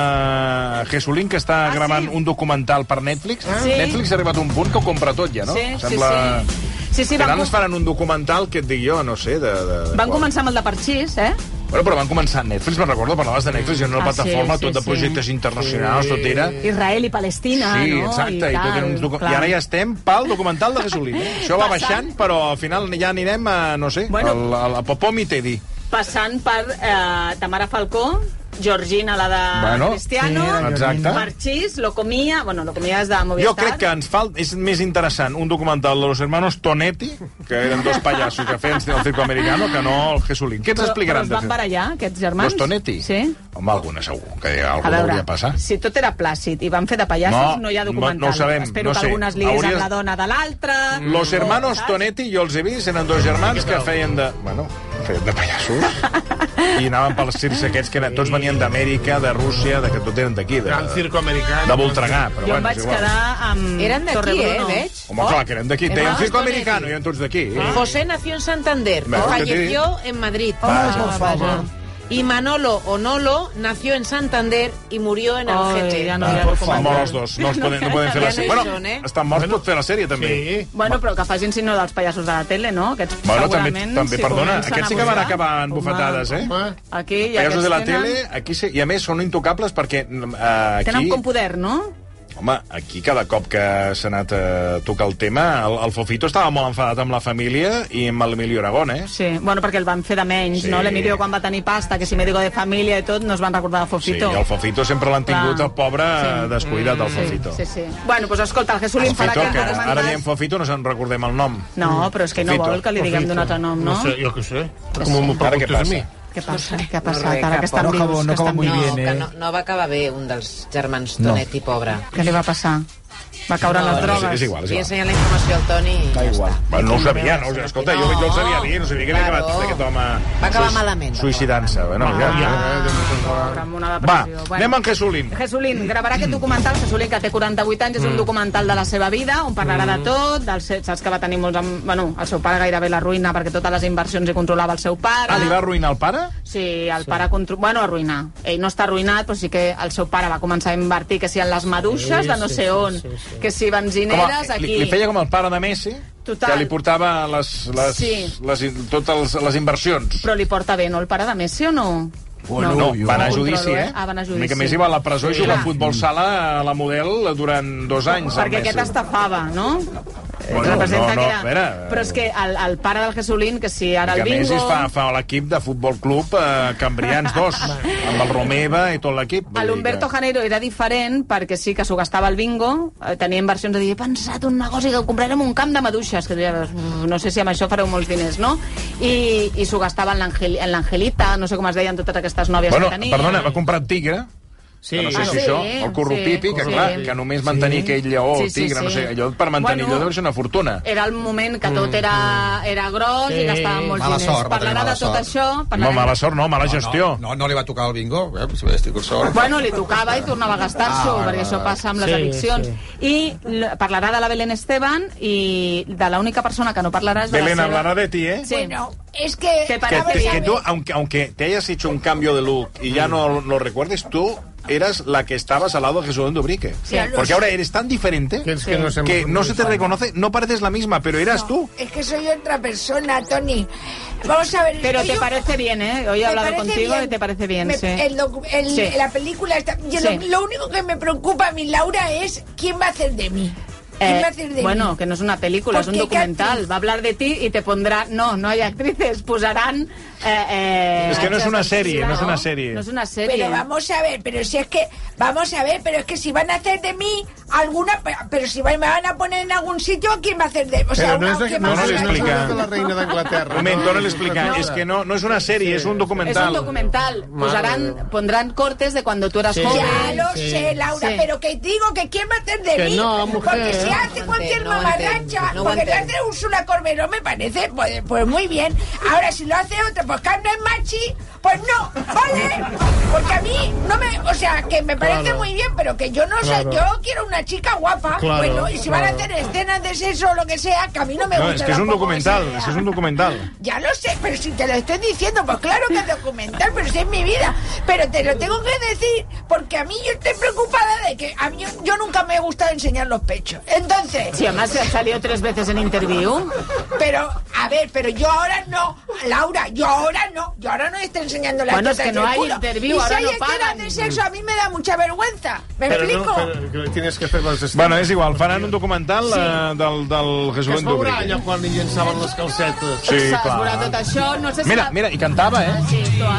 [SPEAKER 1] eh, Jesulín, que està
[SPEAKER 2] Ah, sí? Ah,
[SPEAKER 1] gravant un documental per Netflix.
[SPEAKER 2] Sí.
[SPEAKER 1] Netflix ha arribat a un punt que ho compra tot ja, no?
[SPEAKER 2] Sí, sí, sí. Sí, sí,
[SPEAKER 1] Al
[SPEAKER 2] van,
[SPEAKER 1] final ens
[SPEAKER 2] com...
[SPEAKER 1] faran un documental que et digui jo, no sé, de... de, de
[SPEAKER 2] van
[SPEAKER 1] qual.
[SPEAKER 2] començar amb el de Parxís, eh?
[SPEAKER 1] Bueno, però van començar a Netflix, me'n recordo, parlaves de Netflix, i era una
[SPEAKER 2] Ah, sí,
[SPEAKER 1] plataforma
[SPEAKER 2] sí,
[SPEAKER 1] tot de
[SPEAKER 2] sí.
[SPEAKER 1] projectes internacionals, tot era...
[SPEAKER 2] Israel i Palestina,
[SPEAKER 1] Sí,
[SPEAKER 2] Ah, no?
[SPEAKER 1] exacte, i,
[SPEAKER 2] tal,
[SPEAKER 1] tot era uns docu...
[SPEAKER 2] clar.
[SPEAKER 1] I ara ja estem pel documental de Jesulín. eh? Això va baixant, però al final ja anirem a, no sé,
[SPEAKER 2] Bueno.
[SPEAKER 1] al, al, a Popom i Teddy.
[SPEAKER 2] Passant per eh, Tamara Falcó, Georgina, la de
[SPEAKER 1] Bueno,
[SPEAKER 2] Cristiano,
[SPEAKER 1] sí, exacte.
[SPEAKER 2] Parxís, Locomia... Bueno, Locomia és de Movistar.
[SPEAKER 1] Jo crec que ens falta... És més interessant un documental de los hermanos Tonetti, que eren dos pallassos que feien el circo americano, que no el Jesulín. Què ens
[SPEAKER 2] Però-
[SPEAKER 1] explicaran?
[SPEAKER 2] Però es van barallar, aquests germans?
[SPEAKER 1] Los Tonetti?
[SPEAKER 2] Sí.
[SPEAKER 1] Home, alguna segur, que
[SPEAKER 2] A
[SPEAKER 1] alguna
[SPEAKER 2] veure,
[SPEAKER 1] hauria passat.
[SPEAKER 2] si tot era plàcid i van fer de pallassos,
[SPEAKER 1] No,
[SPEAKER 2] no, hi ha documental.
[SPEAKER 1] no- no ho sabem,
[SPEAKER 2] Espero
[SPEAKER 1] no
[SPEAKER 2] que
[SPEAKER 1] sé.
[SPEAKER 2] algunes lies
[SPEAKER 1] Hauries-
[SPEAKER 2] amb la dona de l'altra...
[SPEAKER 1] Los
[SPEAKER 2] o-
[SPEAKER 1] hermanos
[SPEAKER 2] saps?
[SPEAKER 1] Tonetti, jo els he vist, eren dos germans que feien de... Bueno, feien de pallassos. I anaven pels circs aquests que eren, tots venien d'Amèrica, de Rússia, de que tot eren d'aquí, de,
[SPEAKER 4] Gran circo americà.
[SPEAKER 1] de Voltregà. Però
[SPEAKER 2] Jo
[SPEAKER 1] bueno, és
[SPEAKER 2] em vaig
[SPEAKER 1] igual.
[SPEAKER 2] quedar Oh, amb...
[SPEAKER 6] Eren d'aquí, eh,
[SPEAKER 2] Torrebruno.
[SPEAKER 6] veig.
[SPEAKER 1] Home, clar, que eren d'aquí. Teien
[SPEAKER 6] Hermanos
[SPEAKER 1] circo
[SPEAKER 6] Tonetti.
[SPEAKER 1] americano,
[SPEAKER 2] Ah.
[SPEAKER 1] i eren tots d'aquí.
[SPEAKER 6] José nació en Santander,
[SPEAKER 1] Veus que t'he dit?
[SPEAKER 6] falleció en Madrid. Ah,
[SPEAKER 1] Vaja.
[SPEAKER 3] Por favor.
[SPEAKER 6] Y Manolo Onolo nació en Santander y murió en Algete.
[SPEAKER 2] Ay, ja no
[SPEAKER 1] Ah,
[SPEAKER 2] hi ha
[SPEAKER 1] por
[SPEAKER 2] documental.
[SPEAKER 1] Estan morts els dos, no, els poden, no poden fer la
[SPEAKER 6] Ja no
[SPEAKER 1] sèrie.
[SPEAKER 6] hi
[SPEAKER 1] Bueno,
[SPEAKER 6] són, eh?
[SPEAKER 1] estan morts, pot fer la sèrie, també.
[SPEAKER 4] Sí.
[SPEAKER 2] Bueno, però que facin si no dels pallassos de la tele, no? Aquests
[SPEAKER 1] Bueno, també,
[SPEAKER 2] segurament...
[SPEAKER 1] també
[SPEAKER 2] si
[SPEAKER 1] perdona,
[SPEAKER 2] comencen
[SPEAKER 1] aquests sí
[SPEAKER 2] a
[SPEAKER 1] que van
[SPEAKER 2] posar-
[SPEAKER 1] acabar en
[SPEAKER 4] Home,
[SPEAKER 1] bufetades, eh?
[SPEAKER 4] home.
[SPEAKER 2] Aquí, i
[SPEAKER 1] Països de la
[SPEAKER 2] aquests
[SPEAKER 1] tele,
[SPEAKER 2] tenen-
[SPEAKER 1] aquí sí, i a més són intocables perquè eh, aquí...
[SPEAKER 2] Tenen com poder, no?
[SPEAKER 1] Home, aquí cada cop que s'ha anat a tocar el tema, el, el Fofito estava molt enfadat amb la família i amb el Emilio Aragón, eh?
[SPEAKER 2] Sí, bueno, perquè el van fer de menys,
[SPEAKER 1] Sí.
[SPEAKER 2] no? L'Emilio quan va tenir pasta, que si médico de família i tot, no es van recordar de
[SPEAKER 1] Sí,
[SPEAKER 2] Fofito.
[SPEAKER 1] el Fofito sempre l'han tingut,
[SPEAKER 2] Clar.
[SPEAKER 1] el pobre,
[SPEAKER 2] Sí.
[SPEAKER 1] descuidat, el Fofito.
[SPEAKER 2] Sí, sí. Bueno, doncs escolta, el Jesús li farà
[SPEAKER 1] Fofito, que
[SPEAKER 2] que...
[SPEAKER 1] ara diem Fofito, no se'n recordem el nom.
[SPEAKER 2] No, però és que no
[SPEAKER 1] Fofito.
[SPEAKER 2] vol que li diguem d'un altre nom, no?
[SPEAKER 4] No sé, jo què sé. Com m'ho
[SPEAKER 1] Ara què
[SPEAKER 4] preguntes a
[SPEAKER 1] passa?
[SPEAKER 4] mi?
[SPEAKER 2] Què passa? Què ha
[SPEAKER 6] No,
[SPEAKER 2] passat?
[SPEAKER 6] res,
[SPEAKER 2] Ara
[SPEAKER 6] cap
[SPEAKER 2] que estan
[SPEAKER 8] No
[SPEAKER 2] vius,
[SPEAKER 8] acabo- no
[SPEAKER 2] que
[SPEAKER 8] acabo
[SPEAKER 2] estan
[SPEAKER 8] muy
[SPEAKER 2] vius.
[SPEAKER 8] bien, eh?
[SPEAKER 6] que no, no va acabar bé un dels germans
[SPEAKER 8] No.
[SPEAKER 6] Tonet i pobre.
[SPEAKER 2] Què li va passar? Va caure en
[SPEAKER 6] No,
[SPEAKER 2] les
[SPEAKER 6] no,
[SPEAKER 2] drogues.
[SPEAKER 1] És, és igual, és
[SPEAKER 6] Li
[SPEAKER 1] igual.
[SPEAKER 6] ensenyen la informació al Toni i ja
[SPEAKER 8] igual.
[SPEAKER 6] està.
[SPEAKER 1] Bueno, no ho sabia, no? Escolta, jo, jo el sabia dir, no sabia que havia
[SPEAKER 6] Claro.
[SPEAKER 1] acabat aquest home...
[SPEAKER 6] Va acabar
[SPEAKER 1] suïc-
[SPEAKER 6] malament, d'acord.
[SPEAKER 1] Suïcidant-se. Bueno, ja, ja,
[SPEAKER 2] Ah, Amb
[SPEAKER 1] Va,
[SPEAKER 2] una depressió. Bueno.
[SPEAKER 1] anem amb Jesulín.
[SPEAKER 2] Jesulín, gravarà aquest documental, Jesulín, que té 48 anys, és
[SPEAKER 1] Mm.
[SPEAKER 2] un documental de la seva vida, on parlarà de tot, del, se- saps que va tenir molts... am- Bueno, el seu pare gairebé la ruïna perquè totes les inversions hi controlava el seu pare.
[SPEAKER 1] Ah, li va arruïnar el pare?
[SPEAKER 2] Sí, el pare... Contro... Bueno, arruïnar. Ell no està arruïnat, però sí que el seu pare va començar a invertir, que si en les maduixes de no
[SPEAKER 4] sí,
[SPEAKER 2] sé
[SPEAKER 4] sí,
[SPEAKER 2] on,
[SPEAKER 4] sí, sí.
[SPEAKER 2] que si benzineres,
[SPEAKER 1] li,
[SPEAKER 2] aquí...
[SPEAKER 1] li feia com el pare de Messi,
[SPEAKER 2] Total.
[SPEAKER 1] que li portava les, les,
[SPEAKER 2] Sí.
[SPEAKER 1] les, totes les, les inversions.
[SPEAKER 2] Però li porta bé, no, el pare de Messi o no?
[SPEAKER 1] Bueno, no,
[SPEAKER 8] jo-
[SPEAKER 1] va anar a
[SPEAKER 2] Controlo,
[SPEAKER 1] judici, eh?
[SPEAKER 2] Ah, va anar
[SPEAKER 1] Una
[SPEAKER 2] a judici.
[SPEAKER 1] mica més hi va a la presó i
[SPEAKER 2] Sí.
[SPEAKER 1] juga a
[SPEAKER 2] Clar.
[SPEAKER 1] futbol sala a la model durant dos anys. el
[SPEAKER 2] Perquè
[SPEAKER 1] Messi.
[SPEAKER 2] aquest estafava, no?
[SPEAKER 1] Bueno, no, no,
[SPEAKER 2] Representa que era...
[SPEAKER 1] espera.
[SPEAKER 2] Però és que el, el pare del Jesulín, que si ara
[SPEAKER 1] I
[SPEAKER 2] el
[SPEAKER 1] que a més
[SPEAKER 2] bingo...
[SPEAKER 1] es fa, fa l'equip de Futbol Club eh, Cambrians 2, amb el Romeva i tot l'equip. Vull dir
[SPEAKER 2] L'Humberto Janeiro era diferent perquè sí que s'ho gastava el bingo, eh, tenia inversions de dir, he pensat un negoci que comprarem un camp de maduixes, que tu ja veus, "Uf, no sé si amb això fareu molts diners, no? I, i s'ho gastava en l'Angel- en l'Angelita, no sé com es deien totes aquestes nòvies
[SPEAKER 1] Bueno,
[SPEAKER 2] que tenia.
[SPEAKER 1] perdona, va comprar el tigre,
[SPEAKER 4] Sí,
[SPEAKER 1] que no sé
[SPEAKER 2] Ah,
[SPEAKER 1] si
[SPEAKER 2] sí,
[SPEAKER 1] això, el corrupipi,
[SPEAKER 2] sí.
[SPEAKER 1] que
[SPEAKER 2] Sí.
[SPEAKER 1] clar, que només mantenir aquell lleó,
[SPEAKER 2] Sí,
[SPEAKER 1] el
[SPEAKER 2] sí,
[SPEAKER 1] tigre,
[SPEAKER 2] sí.
[SPEAKER 1] no sé, allò per mantenir
[SPEAKER 2] Bueno. eh,
[SPEAKER 1] allò deu ser una fortuna.
[SPEAKER 2] era el moment que tot era, era gros
[SPEAKER 4] Sí.
[SPEAKER 2] i gastaven molts
[SPEAKER 8] Mm, Mala
[SPEAKER 2] diners.
[SPEAKER 8] sort, va tenir
[SPEAKER 2] Parlarà de
[SPEAKER 8] mala
[SPEAKER 2] tot
[SPEAKER 8] sort.
[SPEAKER 2] això...
[SPEAKER 1] No,
[SPEAKER 2] parlarem-
[SPEAKER 1] mala sort, no, mala gestió.
[SPEAKER 8] No, no, no li va tocar el bingo, eh? si estic con sort.
[SPEAKER 2] Bueno, li tocava i tornava a
[SPEAKER 8] Ah,
[SPEAKER 2] gastar-s'ho,
[SPEAKER 8] vale,
[SPEAKER 2] perquè
[SPEAKER 8] vale,
[SPEAKER 2] això
[SPEAKER 8] vale.
[SPEAKER 2] passa amb les
[SPEAKER 4] Sí,
[SPEAKER 2] addiccions. I l- parlarà de la Belén Esteban i de l'única persona que no parlarà és de
[SPEAKER 1] Belén,
[SPEAKER 2] la seva...
[SPEAKER 1] hablará de ti, ¿eh?
[SPEAKER 2] Sí.
[SPEAKER 5] Bueno, es que...
[SPEAKER 2] Que
[SPEAKER 1] Que,
[SPEAKER 2] para-
[SPEAKER 5] A ver,
[SPEAKER 1] que-
[SPEAKER 5] a
[SPEAKER 1] que
[SPEAKER 5] ver.
[SPEAKER 1] tú, aunque, aunque te hayas hecho un cambio de look y ya no lo recuerdes, tú eras la que estabas al lado de Jesús Dubrique.
[SPEAKER 2] Sí.
[SPEAKER 1] Porque ahora eres tan diferente
[SPEAKER 4] Que, és que, no, se
[SPEAKER 1] que no se te reconoce, no pareces la misma, pero eras tú.
[SPEAKER 5] Es que soy otra persona, Tony. Vamos a ver.
[SPEAKER 2] Pero
[SPEAKER 5] estoy
[SPEAKER 2] te
[SPEAKER 5] yo-
[SPEAKER 2] parece bien, ¿eh? Hoy he
[SPEAKER 5] Me
[SPEAKER 2] hablado
[SPEAKER 5] parece
[SPEAKER 2] contigo
[SPEAKER 5] bien.
[SPEAKER 2] y te parece bien,
[SPEAKER 5] Me-
[SPEAKER 2] sí.
[SPEAKER 5] el docu- el-
[SPEAKER 2] Sí.
[SPEAKER 5] La película está... yo
[SPEAKER 2] Sí.
[SPEAKER 5] lo, lo único que me preocupa a mí, Laura, es quién va a hacer de mí. ¿Quién
[SPEAKER 2] Eh,
[SPEAKER 5] va a hacer de
[SPEAKER 2] bueno,
[SPEAKER 5] mí?
[SPEAKER 2] que no es una película, es un
[SPEAKER 5] Porque qué
[SPEAKER 2] documental.
[SPEAKER 5] actriz.
[SPEAKER 2] Va a hablar de ti y te pondrá... No, no hay actrices, posarán... eh, eh,
[SPEAKER 1] Es que no es una
[SPEAKER 2] actrices
[SPEAKER 1] serie, no es una
[SPEAKER 2] artísticas,
[SPEAKER 1] serie.
[SPEAKER 2] No es una serie.
[SPEAKER 5] Pero vamos a ver, pero si es que... Vamos a ver, pero es que si van a hacer de mí alguna... Pero si va- me van a poner en algún sitio, ¿quién va a hacer de mí? O sea,
[SPEAKER 4] Però no
[SPEAKER 5] una-
[SPEAKER 4] és de,
[SPEAKER 5] ¿quién
[SPEAKER 4] no,
[SPEAKER 5] va a
[SPEAKER 1] no
[SPEAKER 4] no,
[SPEAKER 5] hacer
[SPEAKER 1] se
[SPEAKER 4] no,
[SPEAKER 5] de
[SPEAKER 4] no,
[SPEAKER 5] mí?
[SPEAKER 1] explica.
[SPEAKER 4] és de la reina d'Anglaterra.
[SPEAKER 1] Un mentor le explica, es que no, no es una serie, es un
[SPEAKER 2] Es un
[SPEAKER 1] documental.
[SPEAKER 2] documental.
[SPEAKER 4] Madre de Dios.
[SPEAKER 2] Posarán, pondrán cortes de cuando tú eras
[SPEAKER 4] Sí.
[SPEAKER 2] joven.
[SPEAKER 5] Ya lo
[SPEAKER 4] Sí.
[SPEAKER 5] sé, Laura,
[SPEAKER 2] Sí.
[SPEAKER 5] pero que digo que quién va a hacer de
[SPEAKER 4] Que
[SPEAKER 5] mí.
[SPEAKER 4] no, mujer.
[SPEAKER 5] Porque si
[SPEAKER 4] No
[SPEAKER 5] hace cualquier
[SPEAKER 6] no
[SPEAKER 5] mamarracha,
[SPEAKER 6] entiendo, no
[SPEAKER 5] porque lo
[SPEAKER 6] entiendo.
[SPEAKER 5] hace Úrsula Corberó, me parece, pues, pues muy bien. Ahora, si lo hace otro, pues Carmen Machi, pues no, ¿vale? Porque a mí no me. O sea, que me parece
[SPEAKER 4] Claro.
[SPEAKER 5] muy bien, pero que yo no
[SPEAKER 4] Claro.
[SPEAKER 5] sé, yo quiero una chica guapa.
[SPEAKER 4] Claro,
[SPEAKER 5] bueno, y si van
[SPEAKER 4] claro.
[SPEAKER 5] a hacer escenas de sexo o lo que sea, que a mí no me
[SPEAKER 1] No,
[SPEAKER 5] gusta.
[SPEAKER 1] es que es un
[SPEAKER 5] tampoco
[SPEAKER 1] documental,
[SPEAKER 5] esa
[SPEAKER 1] es
[SPEAKER 5] idea.
[SPEAKER 1] que es un documental.
[SPEAKER 5] Ya lo sé, pero si te lo estoy diciendo, pues claro que es documental, pero si es mi vida. Pero te lo tengo que decir porque a mí yo estoy preocupada de que a mí yo nunca me he gustado enseñar los pechos. Entonces,
[SPEAKER 2] Sí, además se ha salido tres veces en interview.
[SPEAKER 5] pero a ver, pero yo ahora no, Laura, yo ahora no, yo ahora no estoy enseñando las
[SPEAKER 2] Bueno, es
[SPEAKER 5] tetas
[SPEAKER 2] que no
[SPEAKER 5] del
[SPEAKER 2] hay
[SPEAKER 5] culo.
[SPEAKER 2] interview,
[SPEAKER 5] y si
[SPEAKER 2] ahora
[SPEAKER 5] hay
[SPEAKER 2] no
[SPEAKER 5] escenas
[SPEAKER 2] pagan.
[SPEAKER 5] de sexo a mí me da mucha vergüenza. ¿Me
[SPEAKER 4] Pero
[SPEAKER 5] explico?
[SPEAKER 4] no, pero tienes que fer les escenes.
[SPEAKER 1] Bueno, és igual, faran un documental eh, del, del
[SPEAKER 4] Que es
[SPEAKER 1] Jesús
[SPEAKER 4] veurà allò
[SPEAKER 1] Dubrique.
[SPEAKER 4] quan li llençaven les calcetes.
[SPEAKER 1] Sí,
[SPEAKER 2] S'ha esborat tot
[SPEAKER 1] clar.
[SPEAKER 2] això. No sé si
[SPEAKER 1] Mira,
[SPEAKER 2] la-
[SPEAKER 1] mira, i cantava, eh?
[SPEAKER 2] Sí, tu, ah.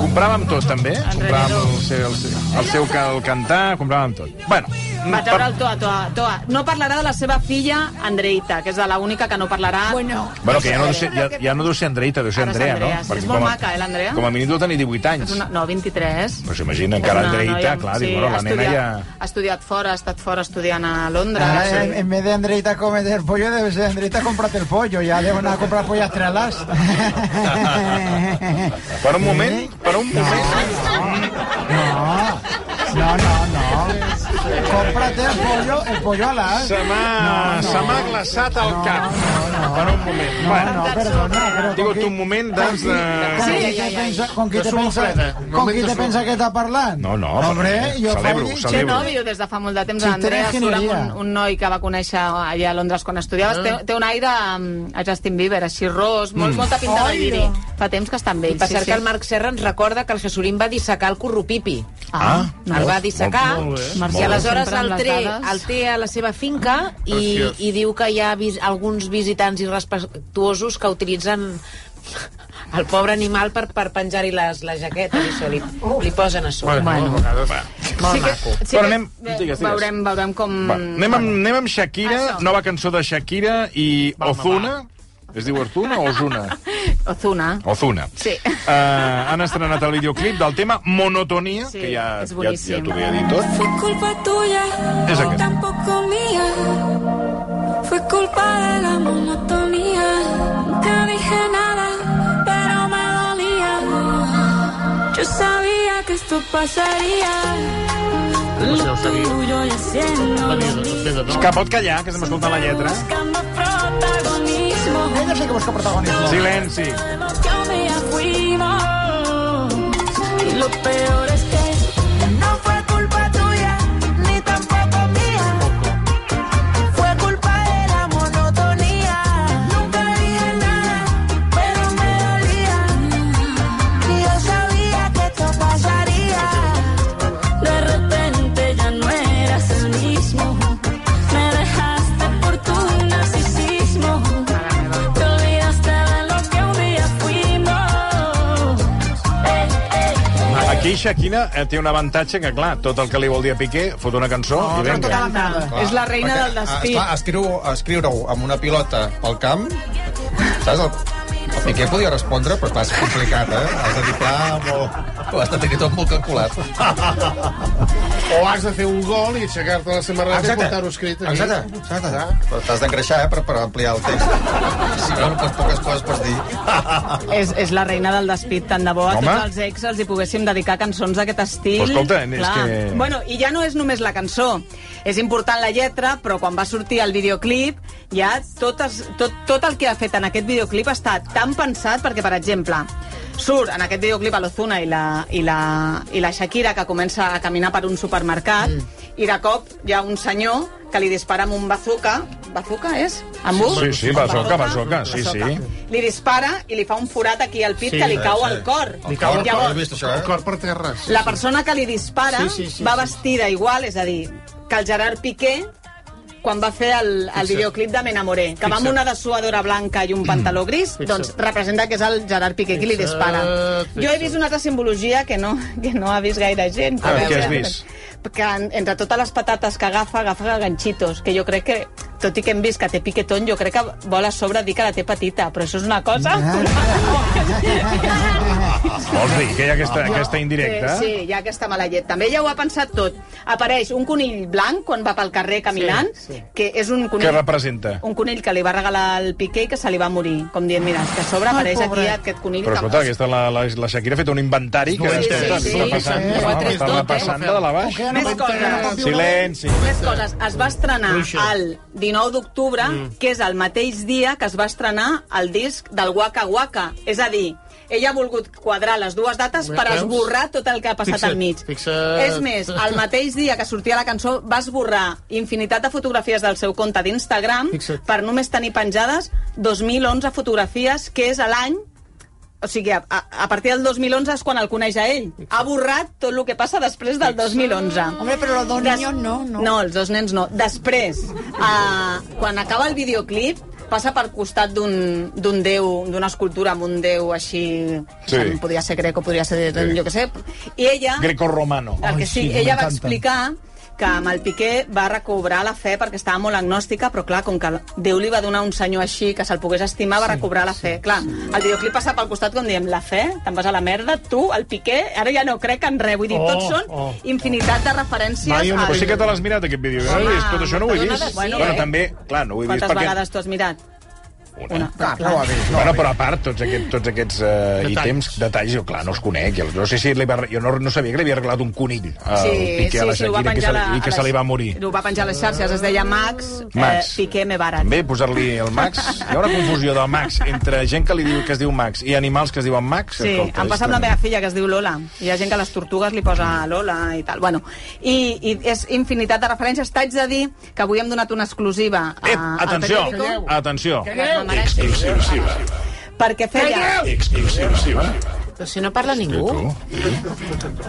[SPEAKER 1] Compràvem tot, també. Compràvem
[SPEAKER 2] Enredo.
[SPEAKER 1] el seu, el seu, el seu ca- el cantar, compràvem tot. Bueno,
[SPEAKER 2] Vaig a
[SPEAKER 1] per-
[SPEAKER 2] veure el Toa, Toa, Toa. No parlarà de la seva filla, Andreita, que és de l'única que no parlarà.
[SPEAKER 5] Bueno,
[SPEAKER 1] Bueno, que ja no, deu ser,
[SPEAKER 5] Pero
[SPEAKER 1] ja,
[SPEAKER 5] que-
[SPEAKER 1] ja no deu ser Andreita, deu ser
[SPEAKER 2] Ara és
[SPEAKER 1] Andrea,
[SPEAKER 2] Andrea,
[SPEAKER 1] no?
[SPEAKER 2] sí,
[SPEAKER 1] Perquè
[SPEAKER 2] és molt
[SPEAKER 1] com a-
[SPEAKER 2] maca, eh, l'Andrea?
[SPEAKER 1] Com a mínim deu tenir 18 anys.
[SPEAKER 2] És una, no, 23.
[SPEAKER 1] Però s'imagina, encara
[SPEAKER 2] És una
[SPEAKER 1] Andreita,
[SPEAKER 2] noia-
[SPEAKER 1] clar, diu, bueno, la
[SPEAKER 2] ha
[SPEAKER 1] nena
[SPEAKER 2] estudiat-
[SPEAKER 1] ja-
[SPEAKER 2] Ha estudiat fora, ha estat fora estudiant a Londres.
[SPEAKER 8] Ah,
[SPEAKER 2] Sí.
[SPEAKER 8] en, en vez de Andreita comer el pollo, debe ser Andreita comprate el pollo. Ya deben a comprar pollas trelas.
[SPEAKER 1] Per un moment, per un moment...
[SPEAKER 8] No, no, no. no. Cómprate el pollo, el pollo alas.
[SPEAKER 1] Se m'ha
[SPEAKER 8] No, no.
[SPEAKER 1] se m'ha glaçat el
[SPEAKER 8] No,
[SPEAKER 1] cap.
[SPEAKER 8] no, no.
[SPEAKER 1] Per un moment.
[SPEAKER 8] No,
[SPEAKER 1] Bueno,
[SPEAKER 8] no, perdona, pero
[SPEAKER 1] Digo,
[SPEAKER 8] con qui-
[SPEAKER 1] tu un moment doncs,
[SPEAKER 8] con qui-
[SPEAKER 1] eh,
[SPEAKER 8] con
[SPEAKER 1] Sí,
[SPEAKER 8] qui te
[SPEAKER 6] ai, ai,
[SPEAKER 8] pensa- Con qui
[SPEAKER 4] De
[SPEAKER 8] te
[SPEAKER 4] sumo
[SPEAKER 8] pensa,
[SPEAKER 4] freda.
[SPEAKER 8] con
[SPEAKER 4] Moment
[SPEAKER 8] qui
[SPEAKER 4] de
[SPEAKER 8] te
[SPEAKER 4] sumo.
[SPEAKER 8] pensa que està parlant?
[SPEAKER 1] No, no,
[SPEAKER 8] Hombre,
[SPEAKER 1] perquè
[SPEAKER 8] jo
[SPEAKER 1] celebro,
[SPEAKER 8] faig-
[SPEAKER 1] celebro.
[SPEAKER 2] Té nòvio des de fa molt de temps.
[SPEAKER 8] Sí,
[SPEAKER 2] L'Andrea
[SPEAKER 8] té
[SPEAKER 2] surt amb un,
[SPEAKER 8] ingenieria.
[SPEAKER 2] un noi que va conèixer allà a Londres quan estudiaves. Té, té un aire mm, a Justin Bieber, així ros, molt, molta pinta de guiri. Fa temps que està amb ell.
[SPEAKER 6] Per cert, que el Marc Serra ens recorda que el Jesurín va dissecar el currupipi.
[SPEAKER 1] Ah,
[SPEAKER 2] no.
[SPEAKER 6] el va
[SPEAKER 1] molt-
[SPEAKER 6] dissecar
[SPEAKER 1] molt bé.
[SPEAKER 6] i
[SPEAKER 2] Marcial,
[SPEAKER 6] aleshores
[SPEAKER 2] sempre amb
[SPEAKER 6] el,
[SPEAKER 2] les
[SPEAKER 6] tre,
[SPEAKER 2] dades.
[SPEAKER 6] el té a la seva finca i,
[SPEAKER 4] Preciós.
[SPEAKER 6] i diu que hi ha vis, alguns visitants irrespectuosos que utilitzen el pobre animal per, per penjar-hi les, les jaquetes i això li, li posen a sobre.
[SPEAKER 4] Bueno,
[SPEAKER 2] Bueno.
[SPEAKER 4] a vegades...
[SPEAKER 6] Molt maco.
[SPEAKER 2] Sí,
[SPEAKER 1] Però
[SPEAKER 2] que
[SPEAKER 1] anem-
[SPEAKER 2] ve-
[SPEAKER 1] digues, digues.
[SPEAKER 2] Veurem, veurem com...
[SPEAKER 1] Va, anem, amb, anem amb Shakira,
[SPEAKER 2] Mm. Això.
[SPEAKER 1] nova cançó de Shakira i Ozuna. Es diu Ozuna o Ozuna?
[SPEAKER 2] Ozuna.
[SPEAKER 1] Ozuna.
[SPEAKER 2] Sí.
[SPEAKER 1] Eh, han estrenat el videoclip del tema Monotonia,
[SPEAKER 2] Sí,
[SPEAKER 1] que ja,
[SPEAKER 2] és
[SPEAKER 1] ja, ja
[SPEAKER 2] boníssim.
[SPEAKER 1] t'ho havia dit tot.
[SPEAKER 9] Fue culpa tuya,
[SPEAKER 1] Es aquel.
[SPEAKER 9] tampoco mía. Fue culpa de la monotonía. Nunca dije nada, pero me dolía. Yo sabía que esto pasaría.
[SPEAKER 4] No sé, ho sabia.
[SPEAKER 9] Tuyo y
[SPEAKER 4] Venia
[SPEAKER 9] haciendo lo
[SPEAKER 4] de-
[SPEAKER 9] mismo.
[SPEAKER 4] ve de dalt.
[SPEAKER 1] Que pot callar, que estem escoltant la lletra.
[SPEAKER 9] Buscando protagonismo.
[SPEAKER 8] Ella sí que busca protagonismo.
[SPEAKER 1] Silenci.
[SPEAKER 9] Sabemos que un día fuimos. Y lo peor es que no fue culpa tuya, ni tampoco mía. Fue culpa de la monotonía. Nunca dije nada, pero me dolía. Y yo sabía que esto pasaría. De repente ya no eras el mismo. Me dejaste por tu narcisismo. Te olvidaste de lo que un día fuimos. Eh, Ey, ey, ey.
[SPEAKER 1] Aquí Shakira eh, té un avantatge que, clar, tot el que li vol dir a Piqué, fot una cançó i vinga.
[SPEAKER 2] És la reina del despit.
[SPEAKER 3] Esclar, escriu- escriure-ho amb una pilota Tota, pel camp, saps? El, el Piqué podia respondre, però clar, és complicat, eh? Has de dir pla, molt... Ho has de tenir tot molt calculat.
[SPEAKER 4] O has de fer un gol i aixecar-te la samarreta i portar-ho escrit aquí.
[SPEAKER 3] Exacte, exacte. Però t'has d'engreixar, eh, per, per ampliar el text. si no, doncs poques coses pots dir.
[SPEAKER 2] És, és la reina del despit, tant de bo a
[SPEAKER 1] Home.
[SPEAKER 2] tots els ex els hi poguéssim dedicar cançons d'aquest estil.
[SPEAKER 1] Però escolta, és
[SPEAKER 2] Clar.
[SPEAKER 1] que-
[SPEAKER 2] Bueno, i ja no és només la cançó. És important la lletra, però quan va sortir el videoclip, ja totes, tot, tot el que ha fet en aquest videoclip està tan pensat perquè, per exemple, surt en aquest videoclip a l'Ozuna i la, i, la, i la Shakira que comença a caminar per un supermercat mm. i de cop hi ha un senyor que li dispara amb un bazooka. Bazooka és? Amb un?
[SPEAKER 1] Sí, sí, bazooka, bazooka, sí, sí.
[SPEAKER 2] li dispara i li fa un forat aquí al pit
[SPEAKER 4] Sí,
[SPEAKER 2] que li
[SPEAKER 4] sí,
[SPEAKER 2] cau
[SPEAKER 4] sí.
[SPEAKER 2] al cor.
[SPEAKER 3] El cor, però has
[SPEAKER 2] Llavors,
[SPEAKER 3] vist això,
[SPEAKER 4] El
[SPEAKER 3] eh?
[SPEAKER 4] cor per terra. sí.
[SPEAKER 2] la persona que li dispara
[SPEAKER 4] Sí, sí, sí,
[SPEAKER 2] va
[SPEAKER 4] sí.
[SPEAKER 2] vestida igual, és a dir, que el Gerard Piqué quan va fer el, el videoclip de M'enamoré, que va amb
[SPEAKER 4] Fixa't. Mm.
[SPEAKER 2] una dessuadora blanca i un pantaló gris,
[SPEAKER 4] Fixa't.
[SPEAKER 2] doncs representa que és el Gerard Piqué qui li
[SPEAKER 4] Fixa't,
[SPEAKER 2] dispara. Jo he
[SPEAKER 4] fixa't.
[SPEAKER 2] vist una altra simbologia que no, que no ha vist gaire gent.
[SPEAKER 1] Ah,
[SPEAKER 2] A veure,
[SPEAKER 1] què has vist?
[SPEAKER 2] Que en- entre totes les patates que agafa, agafa ganxitos, que jo crec que, tot i que hem vist que té piquetón, jo crec que vol a sobre dir que la té petita, però això és una cosa...
[SPEAKER 1] Vols dir que hi ha aquesta, aquesta indirecta?
[SPEAKER 2] Sí, sí, hi ha aquesta mala llet. També ja ho ha pensat tot. Apareix un conill blanc quan va pel carrer caminant, sí, sí. que és un
[SPEAKER 1] Què
[SPEAKER 2] conill...
[SPEAKER 1] representa?
[SPEAKER 2] Un conill que li va regalar el Piqué i que se li va morir. Com dient, mira, és que a sobre apareix aquí aquest conill...
[SPEAKER 1] Però
[SPEAKER 2] que-
[SPEAKER 1] escolta, aquesta, la, la, la Shakira ha fet un inventari que
[SPEAKER 4] Sí,
[SPEAKER 1] escolta,
[SPEAKER 2] sí,
[SPEAKER 1] està
[SPEAKER 2] sí,
[SPEAKER 1] passant,
[SPEAKER 4] sí, sí.
[SPEAKER 1] està-
[SPEAKER 4] Ho ha tret
[SPEAKER 1] està
[SPEAKER 4] tot, eh?
[SPEAKER 1] passant de la baix.
[SPEAKER 8] Que no
[SPEAKER 2] Més
[SPEAKER 8] pot-
[SPEAKER 2] coses.
[SPEAKER 8] que no pot piular.
[SPEAKER 1] Silenci.
[SPEAKER 2] Més coses. Es va estrenar
[SPEAKER 4] Bruixa.
[SPEAKER 2] el 19 d'octubre,
[SPEAKER 4] Mm.
[SPEAKER 2] que és el mateix dia que es va estrenar el disc del Waka Waka. És a dir, ella ha volgut quadrar les dues dates
[SPEAKER 4] Veus?
[SPEAKER 2] per esborrar tot el que ha passat
[SPEAKER 4] Fixa't,
[SPEAKER 2] al mig.
[SPEAKER 4] fixa't.
[SPEAKER 2] És més, el mateix dia que sortia la cançó va esborrar infinitat de fotografies del seu compte d'Instagram
[SPEAKER 4] Fixa't.
[SPEAKER 2] per només tenir penjades 2.011 fotografies, que és l'any o sigui, a, a, a partir del 2011 és quan el coneix a ell. Ha borrat tot el que passa després del 2011.
[SPEAKER 5] Hombre, pero los dos
[SPEAKER 2] Des-
[SPEAKER 5] niños no, no.
[SPEAKER 2] No, els dos nens no. Després, eh, quan acaba el videoclip, passa per costat d'un d'un déu, d'una escultura amb un déu així...
[SPEAKER 1] Sí.
[SPEAKER 2] em Podria ser greco, podria ser...
[SPEAKER 1] Sí.
[SPEAKER 2] jo què sé. I ella...
[SPEAKER 1] Greco-romano.
[SPEAKER 2] El que
[SPEAKER 8] Ai, sí,
[SPEAKER 2] sí, ella va
[SPEAKER 8] m'encanta.
[SPEAKER 2] explicar que amb el Piqué va recobrar la fe perquè estava molt agnòstica, però clar, com que Déu li va donar un senyor així que se'l pogués estimar, va recobrar la fe. Clar, el videoclip passa pel costat com diem, la fe, te'n vas a la merda, tu, el Piqué, ara ja no crec en res. Vull dir,
[SPEAKER 4] Oh,
[SPEAKER 2] tots
[SPEAKER 4] oh,
[SPEAKER 2] són infinitat de referències.
[SPEAKER 4] Vaya una
[SPEAKER 2] al-
[SPEAKER 1] Però sí que te l'has mirat, aquest vídeo. No,
[SPEAKER 2] Home,
[SPEAKER 1] no, tot això no ho he
[SPEAKER 6] dona
[SPEAKER 1] vist.
[SPEAKER 6] de sí,
[SPEAKER 1] bueno,
[SPEAKER 6] eh?
[SPEAKER 1] també, clar, no ho he vist
[SPEAKER 2] Quantes
[SPEAKER 1] perquè... Eh,
[SPEAKER 2] vegades t'ho has mirat?
[SPEAKER 1] Una.
[SPEAKER 2] Una.
[SPEAKER 4] Ah, no ho ha dit. No,
[SPEAKER 1] Bueno, però a part, tots aquests, tots aquests uh,
[SPEAKER 4] Detalls.
[SPEAKER 1] ítems, detalls, jo clar, no els conec. Jo No sé si li va, jo no, no sabia que li havia regalat un conill al Piqué a la Shakira que se, li- i que se li va morir.
[SPEAKER 2] Ho va penjar a les xarxes, es deia Max,
[SPEAKER 1] Max.
[SPEAKER 2] Eh, Piqué me barat.
[SPEAKER 1] També posar-li el Max. Hi ha una confusió del Max entre gent que li diu que es diu Max i animals que es diuen Max.
[SPEAKER 2] Sí,
[SPEAKER 1] Escolta,
[SPEAKER 2] em passa amb la meva filla, que es diu Lola. Hi ha gent que a les tortugues li posa Lola i tal. Bueno, i, i és infinitat de referències. T'haig de dir que avui hem donat una exclusiva a,
[SPEAKER 1] Ep,
[SPEAKER 2] al
[SPEAKER 1] Eh, atenció,
[SPEAKER 2] Periódico,
[SPEAKER 1] atenció.
[SPEAKER 2] les mamarets, perquè feia...
[SPEAKER 6] Però si no parla ningú.
[SPEAKER 2] A-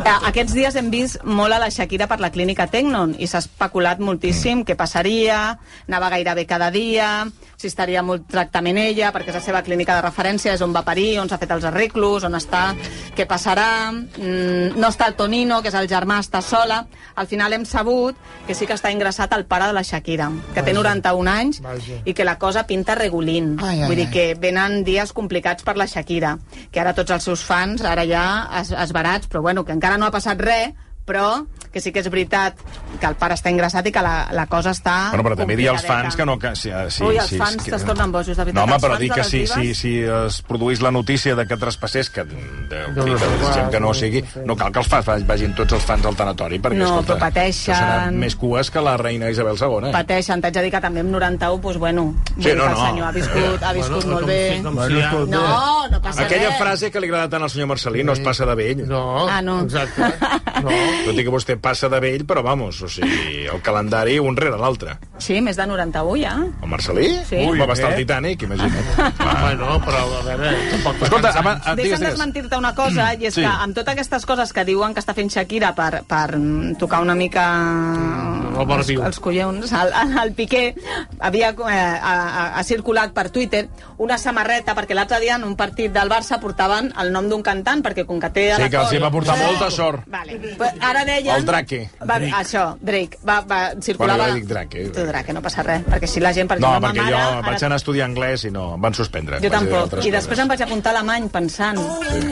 [SPEAKER 2] Eh, Aquests dies hem vist molt a la Shakira per la clínica Tecnon i s'ha especulat moltíssim què passaria, anava gairebé cada dia, si estaria molt tractament ella, perquè és la seva clínica de referència, és on va parir, on s'ha fet els arreglos, on està, què passarà, mm, no està el Tonino, que és el germà, està sola. Al final hem sabut que sí que està ingressat el pare de la Shakira, que té 91 anys
[SPEAKER 4] Vaja.
[SPEAKER 2] i que la cosa pinta regulint.
[SPEAKER 8] Ai, ai,
[SPEAKER 2] Vull dir
[SPEAKER 8] ai.
[SPEAKER 2] que que venen dies complicats per la Shakira, que ara tots els seus fans, ara ja es, esbarats, però bueno, que encara no ha passat res, però que sí que és veritat que el pare està ingressat i que la, la cosa està...
[SPEAKER 1] Bueno, però també dir als
[SPEAKER 2] complicadeta.
[SPEAKER 1] fans que no... Que, eh, sí, sí,
[SPEAKER 2] Ui, els
[SPEAKER 1] sí,
[SPEAKER 2] fans
[SPEAKER 1] que-
[SPEAKER 2] es tornen bojos, de veritat.
[SPEAKER 1] No, home,
[SPEAKER 2] Els
[SPEAKER 1] però
[SPEAKER 2] fans
[SPEAKER 1] dir
[SPEAKER 2] de
[SPEAKER 1] que
[SPEAKER 2] les
[SPEAKER 1] si, si,
[SPEAKER 2] divas-
[SPEAKER 1] si es produís la notícia de que traspassés, que, de, de,
[SPEAKER 4] Déu
[SPEAKER 1] de,
[SPEAKER 4] nos en guard,
[SPEAKER 1] gent que no
[SPEAKER 4] no
[SPEAKER 1] ho sigui,
[SPEAKER 4] sé.
[SPEAKER 1] no cal que els fans va- vagin tots els fans al tanatori, perquè,
[SPEAKER 2] No,
[SPEAKER 1] escolta,
[SPEAKER 2] però pateixen.
[SPEAKER 1] això seran més cues que la reina Isabel II. eh?
[SPEAKER 2] Pateixen, t'haig de dir que també amb 91, doncs bueno, vull
[SPEAKER 1] Sí,
[SPEAKER 2] dir
[SPEAKER 1] no,
[SPEAKER 2] que el
[SPEAKER 1] no.
[SPEAKER 2] senyor ha viscut, ha viscut
[SPEAKER 4] Bueno,
[SPEAKER 2] molt
[SPEAKER 4] com si-
[SPEAKER 2] bé.
[SPEAKER 4] com si-
[SPEAKER 2] No, no passa
[SPEAKER 1] Aquella
[SPEAKER 2] res.
[SPEAKER 1] frase que li agrada tant al senyor Marcelí no es passa de vell.
[SPEAKER 4] No,
[SPEAKER 2] Ah, no.
[SPEAKER 4] exacte. No.
[SPEAKER 1] Tot i que vostè passa de vell, però vamos, o sigui, el calendari un rere l'altre.
[SPEAKER 2] Sí, més de 91 ja.
[SPEAKER 1] El Marcelí?
[SPEAKER 2] Sí.
[SPEAKER 1] Ui, va estar
[SPEAKER 4] eh?
[SPEAKER 1] al Titanic, imagina't.
[SPEAKER 4] Bueno, però a eh, veure, tampoc... fa
[SPEAKER 1] Escolta,
[SPEAKER 4] tants anys.
[SPEAKER 1] abans, ah,
[SPEAKER 2] Deixa'm
[SPEAKER 1] digues, digues.
[SPEAKER 2] desmentir-te una cosa, i és
[SPEAKER 1] Sí.
[SPEAKER 2] que amb totes aquestes coses que diuen que està fent Shakira per, per mm, tocar una mica
[SPEAKER 4] el
[SPEAKER 2] els,
[SPEAKER 4] barbiu.
[SPEAKER 2] els collons, el, el Piqué havia, eh, ha, ha- ha circulat per Twitter una samarreta, perquè l'altre dia en un partit del Barça portaven el nom d'un cantant, perquè com que té... a
[SPEAKER 1] Sí,
[SPEAKER 2] la
[SPEAKER 1] que els
[SPEAKER 2] col-
[SPEAKER 1] hi va portar
[SPEAKER 2] Sí.
[SPEAKER 1] molta sort.
[SPEAKER 2] Vale. Però Ara deien...
[SPEAKER 1] El Drake.
[SPEAKER 2] Va, Això, Drake. Va, va, circulava...
[SPEAKER 1] Bueno, jo dic Drake.
[SPEAKER 2] Tu Drake, no passa res, perquè si la gent... Perquè
[SPEAKER 1] No,
[SPEAKER 2] ma
[SPEAKER 1] perquè
[SPEAKER 2] mare,
[SPEAKER 1] jo
[SPEAKER 2] ara-
[SPEAKER 1] vaig anar a estudiar anglès i no, em van suspendre. Vaig
[SPEAKER 2] Jo
[SPEAKER 1] dir
[SPEAKER 2] tampoc.
[SPEAKER 1] altres
[SPEAKER 2] I després em
[SPEAKER 1] coses.
[SPEAKER 2] vaig apuntar a alemany pensant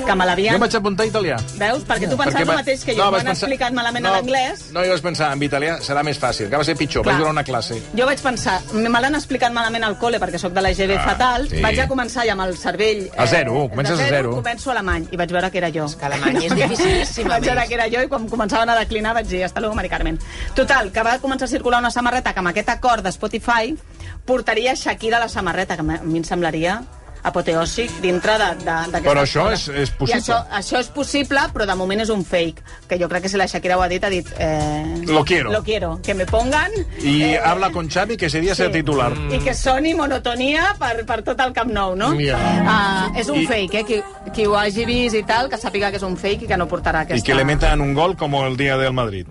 [SPEAKER 2] que me l'havien...
[SPEAKER 1] Jo em vaig apuntar a italià.
[SPEAKER 2] Veus? Perquè tu pensaves
[SPEAKER 1] va-
[SPEAKER 2] el mateix que jo, no,
[SPEAKER 1] vaig
[SPEAKER 2] m'han explicat malament
[SPEAKER 1] no,
[SPEAKER 2] en anglès.
[SPEAKER 1] No, jo vaig pensar, en italià serà més fàcil, que va ser pitjor,
[SPEAKER 2] Clar.
[SPEAKER 1] vaig durar una classe.
[SPEAKER 2] Jo vaig pensar, me l'han explicat malament al col·le perquè sóc de la GB
[SPEAKER 1] Ah,
[SPEAKER 2] fatal,
[SPEAKER 1] sí.
[SPEAKER 2] vaig a començar ja amb el cervell... eh,
[SPEAKER 1] A zero, comences
[SPEAKER 2] de
[SPEAKER 1] a zero.
[SPEAKER 2] Començo alemany, i vaig veure que era jo.
[SPEAKER 6] que alemany és dificilíssim, a
[SPEAKER 2] vaig veure
[SPEAKER 6] més.
[SPEAKER 2] que era jo i quan començaven a declinar vaig dir, hasta luego, Mari Carmen. Total, que va començar a circular una samarreta que amb aquest acord de Spotify portaria Shakira a la samarreta, que a mi em semblaria apoteòsic dintre de- de- d'aquesta...
[SPEAKER 1] Però això
[SPEAKER 2] cosa.
[SPEAKER 1] és- és
[SPEAKER 2] I això,
[SPEAKER 1] possible.
[SPEAKER 2] això és possible, però de moment és un fake. Que jo crec que si la Shakira ho ha dit, ha dit... Eh,
[SPEAKER 1] Lo quiero.
[SPEAKER 2] Lo quiero. Que me pongan...
[SPEAKER 1] I
[SPEAKER 2] eh,
[SPEAKER 1] habla con Xavi, que ese dia
[SPEAKER 2] Sí. Mm.
[SPEAKER 1] ser titular.
[SPEAKER 2] i que soni monotonia per, per tot el Camp Nou, no?
[SPEAKER 4] Ja.
[SPEAKER 2] Ah, és un
[SPEAKER 1] I-
[SPEAKER 2] fake, eh? Qui, qui ho hagi vist i tal, que sàpiga que és un fake i que no portarà
[SPEAKER 1] I
[SPEAKER 2] aquesta...
[SPEAKER 1] que le metan un gol com el dia del Madrid.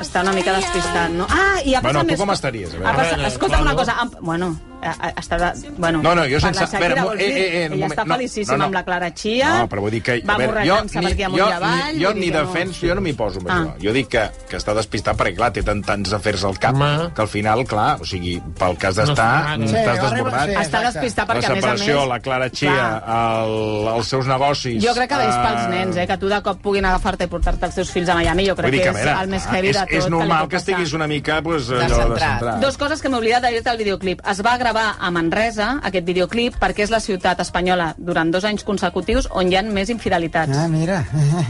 [SPEAKER 2] Està una mica despistat, no? Ah, i ha
[SPEAKER 1] Bueno,
[SPEAKER 2] passat
[SPEAKER 1] tu
[SPEAKER 2] més...
[SPEAKER 1] com estaries? A veure.
[SPEAKER 2] Ha passat...
[SPEAKER 4] Bueno,
[SPEAKER 2] Escolta'm una
[SPEAKER 4] claro.
[SPEAKER 2] cosa... Am... Bueno, a, a, està de... Bueno,
[SPEAKER 1] No, no, jo
[SPEAKER 2] per
[SPEAKER 1] sense-
[SPEAKER 2] la Shakira,
[SPEAKER 1] espera, eh,
[SPEAKER 2] vols dir?
[SPEAKER 1] eh, eh, un
[SPEAKER 2] Ella
[SPEAKER 1] moment,
[SPEAKER 2] està
[SPEAKER 1] no,
[SPEAKER 2] felicíssima
[SPEAKER 1] no, no.
[SPEAKER 2] amb la Clara Chia.
[SPEAKER 1] No, però vull dir que...
[SPEAKER 2] Va
[SPEAKER 1] a veure,
[SPEAKER 2] borratxant-se per aquí amunt
[SPEAKER 1] jo,
[SPEAKER 2] i avall.
[SPEAKER 1] ni, jo
[SPEAKER 2] vull dir
[SPEAKER 1] ni
[SPEAKER 2] que no.
[SPEAKER 1] defenso, jo no m'hi poso amb
[SPEAKER 2] Ah.
[SPEAKER 1] això. Jo dic que, que està despistat perquè, clar, té tant, tants afers al cap
[SPEAKER 4] Home.
[SPEAKER 1] que al final, clar, o sigui, pel cas d'estar,
[SPEAKER 4] No
[SPEAKER 1] no
[SPEAKER 4] està,
[SPEAKER 1] t'has
[SPEAKER 8] Sí, arriba-
[SPEAKER 1] desbordat.
[SPEAKER 8] sí.
[SPEAKER 2] Està
[SPEAKER 8] Exacte.
[SPEAKER 2] despistat
[SPEAKER 1] La
[SPEAKER 2] perquè, a més a
[SPEAKER 1] separació,
[SPEAKER 2] més...
[SPEAKER 1] la Clara Chia,
[SPEAKER 2] Clar.
[SPEAKER 1] el, els seus negocis...
[SPEAKER 2] Jo crec que veis pels
[SPEAKER 1] eh,
[SPEAKER 2] nens, eh, que tu de cop puguin agafar-te i portar-te els teus fills a Miami, jo crec
[SPEAKER 1] vull dir
[SPEAKER 2] que,
[SPEAKER 1] que, a
[SPEAKER 2] és
[SPEAKER 1] veure,
[SPEAKER 2] el més heavy
[SPEAKER 1] és,
[SPEAKER 2] de tot.
[SPEAKER 1] és
[SPEAKER 2] li
[SPEAKER 1] normal
[SPEAKER 2] pot
[SPEAKER 1] que estigués
[SPEAKER 2] passar.
[SPEAKER 1] una mica pues, allò
[SPEAKER 6] Descentrat.
[SPEAKER 1] descentrat.
[SPEAKER 2] Dos coses que m'he oblidat de dir-te al videoclip. Es va gravar a Manresa, aquest videoclip, perquè és la ciutat espanyola durant dos anys consecutius on hi ha més infidelitats.
[SPEAKER 8] Ah, mira.